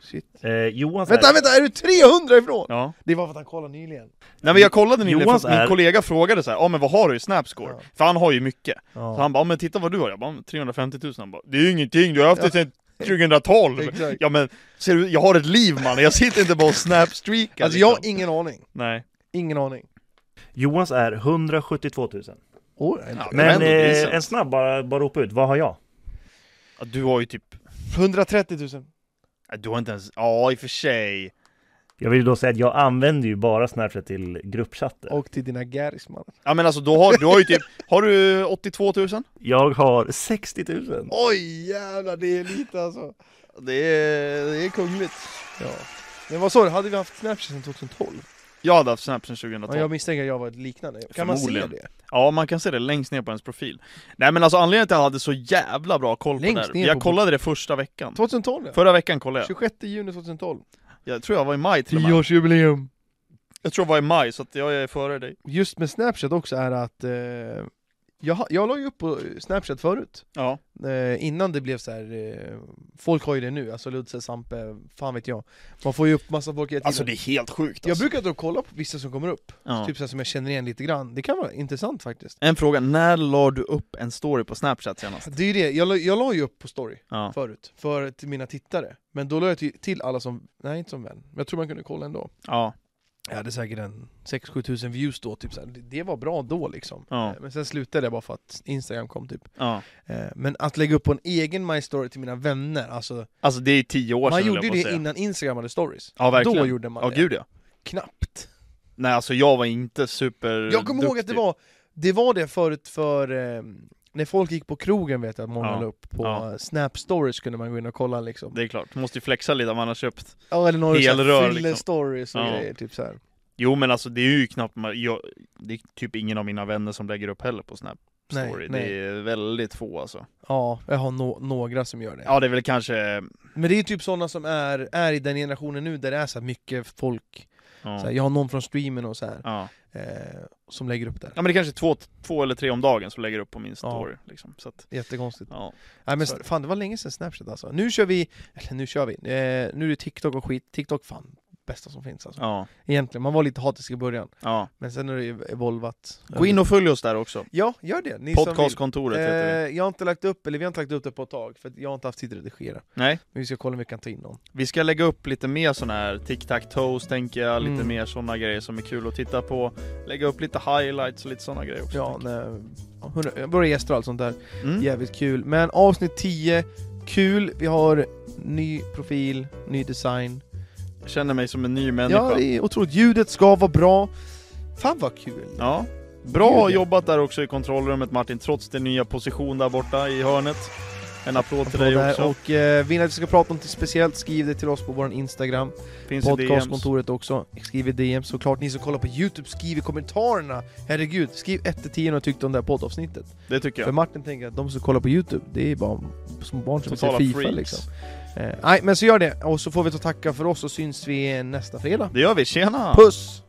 Speaker 2: Shit.
Speaker 3: Eh, Johans
Speaker 2: Vänta,
Speaker 3: är...
Speaker 2: vänta, är du 300 ifrån?
Speaker 1: Ja.
Speaker 2: Det var för att han kollade nyligen.
Speaker 1: Nej men jag kollade nyligen,
Speaker 3: Johans
Speaker 1: för min
Speaker 3: är-
Speaker 1: kollega frågade så här, ja men vad har du i snapscore?
Speaker 2: Ja.
Speaker 1: För han har ju mycket.
Speaker 2: Ja.
Speaker 1: Så han bara, "Ja, men titta vad du har. Jag bara, 350 000. Han bara, det är ju ingenting, du har haft det sedan 2012.
Speaker 2: Exakt.
Speaker 1: Ja men, ser du, jag har ett liv mannen, jag sitter inte bara och snapstreakar
Speaker 2: Alltså jag har
Speaker 1: liksom.
Speaker 2: ingen aning.
Speaker 1: Nej.
Speaker 2: Ingen aning.
Speaker 3: Johans är 172 000.
Speaker 2: Oh,
Speaker 1: Ja, det var
Speaker 3: Men
Speaker 1: ändå
Speaker 3: eh,
Speaker 1: decent.
Speaker 3: en snabb, bara, bara ropa ut. Vad har jag?
Speaker 1: Ja, Du har ju typ,
Speaker 2: 130 000.
Speaker 1: du har inte ens, ja i och för sig.
Speaker 3: Jag vill ju då säga att jag använder ju bara Snapchat till gruppchatter.
Speaker 2: Och till dina garris man.
Speaker 1: Ja men alltså då har du har ju typ, har du 82 000?
Speaker 3: Jag har 60 000.
Speaker 1: Oj jävlar, det är lite alltså. Det är, det är kungligt.
Speaker 2: Ja. Men vad sa du, hade vi haft Snapchat sedan 2012?
Speaker 1: Jag hade haft Snap sedan
Speaker 2: Ja,
Speaker 1: 2012.
Speaker 2: jag misstänker att jag var ett liknande. Kan man se
Speaker 1: Förmodligen.
Speaker 2: det?
Speaker 1: Ja, man kan se det längst ner på ens profil. Nej men alltså anledningen till att jag hade så jävla bra koll på det
Speaker 2: Längst
Speaker 1: här,
Speaker 2: ner
Speaker 1: jag
Speaker 2: på-
Speaker 1: kollade det första veckan.
Speaker 2: 2012 ja.
Speaker 1: Förra veckan kollade jag.
Speaker 2: 26 juni 2012.
Speaker 1: Jag tror jag var i maj till och med.
Speaker 2: Tioårsjubileum.
Speaker 1: Jag tror jag var i maj, så att jag är före dig.
Speaker 2: Just med Snapchat också är att eh, jag, ha- jag la ju upp på Snapchat förut.
Speaker 1: Ja.
Speaker 2: Eh, innan det blev så här, eh, folk har ju det nu, alltså Ludse, Sampe, fan vet jag. Man får ju upp massa folk hela tiden.
Speaker 1: Alltså det är helt sjukt
Speaker 2: Jag
Speaker 1: alltså.
Speaker 2: brukar då kolla på vissa som kommer upp,
Speaker 1: ja.
Speaker 2: typ så här som jag känner igen lite grann. Det kan vara intressant faktiskt.
Speaker 1: En fråga, när la du upp en story på Snapchat senast?
Speaker 2: Det är ju det, jag la, jag la ju upp på story
Speaker 1: Ja.
Speaker 2: förut, för till mina tittare. Men då la jag till, till alla som, nej inte som vän, men jag tror man kunde kolla ändå.
Speaker 1: Ja.
Speaker 2: Jag hade säkert en 6-7 tusen views då, typ så här. Det, det var bra då liksom.
Speaker 1: Ja.
Speaker 2: Eh, Men sen slutade jag bara för att Instagram kom typ.
Speaker 1: ja.
Speaker 2: Eh, Men att lägga upp på en egen My Story till mina vänner, alltså
Speaker 1: Alltså det är tio år
Speaker 2: man
Speaker 1: sedan
Speaker 2: gjorde ju
Speaker 1: höll
Speaker 2: det
Speaker 1: jag på att säga.
Speaker 2: innan Instagram hade stories.
Speaker 1: Ja verkligen.
Speaker 2: Då gjorde man
Speaker 1: Ja
Speaker 2: det.
Speaker 1: gud ja.
Speaker 2: Knappt.
Speaker 1: Nej alltså jag var inte super
Speaker 2: Jag kommer ihåg att det var det, var det förut för eh, när folk gick på krogen vet jag att många
Speaker 1: Ja.
Speaker 2: la upp på
Speaker 1: Ja.
Speaker 2: eh, Snap stories kunde man gå in och kolla liksom.
Speaker 1: Det är klart, du måste ju flexa lite om man har köpt
Speaker 2: Ja eller några så här
Speaker 1: Helrör, liksom.
Speaker 2: fyllestories och
Speaker 1: Ja.
Speaker 2: grejer typ så här.
Speaker 1: Jo men alltså det är ju knappt, man- jag, det är typ ingen av mina vänner som lägger upp heller på Snap
Speaker 2: Nej,
Speaker 1: Story
Speaker 2: nej.
Speaker 1: Det är väldigt få alltså
Speaker 2: Ja, jag har nå- några som gör det.
Speaker 1: Ja det är väl kanske,
Speaker 2: Men det är ju typ sådana som är, är i den generationen nu där det är så här mycket folk.
Speaker 1: ja,
Speaker 2: Så här, jag har någon från streamen och så här
Speaker 1: ja.
Speaker 2: eh, som lägger upp där.
Speaker 1: ja men det är kanske två, två eller tre om dagen som lägger upp på min story liksom. Så att,
Speaker 2: Jättekonstigt.
Speaker 1: ja.
Speaker 2: Nej men
Speaker 1: Så är det.
Speaker 2: fan det var länge sedan Snapchat alltså. Nu kör vi, eller nu kör vi, eh, nu är det TikTok och skit. TikTok fan bästa som finns alltså.
Speaker 1: Ja,
Speaker 2: Egentligen, man var lite hatisk i början.
Speaker 1: ja
Speaker 2: Men sen har det ju evolvat.
Speaker 1: Gå in och följ oss där också
Speaker 2: Ja, gör det. Ni som vill.
Speaker 1: Podcastkontoret heter vi
Speaker 2: Eh, jag har inte lagt upp, eller vi har inte lagt upp det på ett tag, för att jag har inte haft tid att redigera.
Speaker 1: Nej,
Speaker 2: Men vi ska kolla om vi kan ta in någon.
Speaker 1: vi ska lägga upp lite mer sådana här tic tac toes tänker jag, lite
Speaker 2: Mm.
Speaker 1: mer sådana grejer som är kul att titta på Lägga upp lite highlights och lite sådana grejer också
Speaker 2: Ja, nej, ja, hundra- våra gäster och allt sånt där.
Speaker 1: mm.
Speaker 2: Jävligt kul. Men avsnitt 10, kul. Vi har ny profil, ny design.
Speaker 1: Jag känner mig som en ny människa
Speaker 2: Ja, det är otroligt. Ljudet ska vara bra. Fan vad kul.
Speaker 1: Ja. Bra
Speaker 2: Gud, ja.
Speaker 1: jobbat där också i kontrollrummet Martin, trots din nya position där borta i hörnet. En applåd till
Speaker 2: Applåd
Speaker 1: dig
Speaker 2: där.
Speaker 1: också.
Speaker 2: Och eh, vill ni att vi ska prata om något speciellt, skriv det till oss på vår Instagram,
Speaker 1: Finns i DMs.
Speaker 2: podcastkontoret också. Skriv i DM såklart. Ni som kollar på YouTube, skriv i kommentarerna. Herregud, skriv 1-10 och tyckte om det här poddavsnittet.
Speaker 1: Det tycker
Speaker 2: För
Speaker 1: jag.
Speaker 2: Martin tänker att de som kollar på YouTube, det är bara små barn som
Speaker 1: Totala
Speaker 2: ser Fifa
Speaker 1: freaks.
Speaker 2: liksom. Eh, nej, men så gör det. Och så får vi ta och tacka för oss och syns vi nästa fredag.
Speaker 1: Det gör vi, tjena!
Speaker 2: Puss!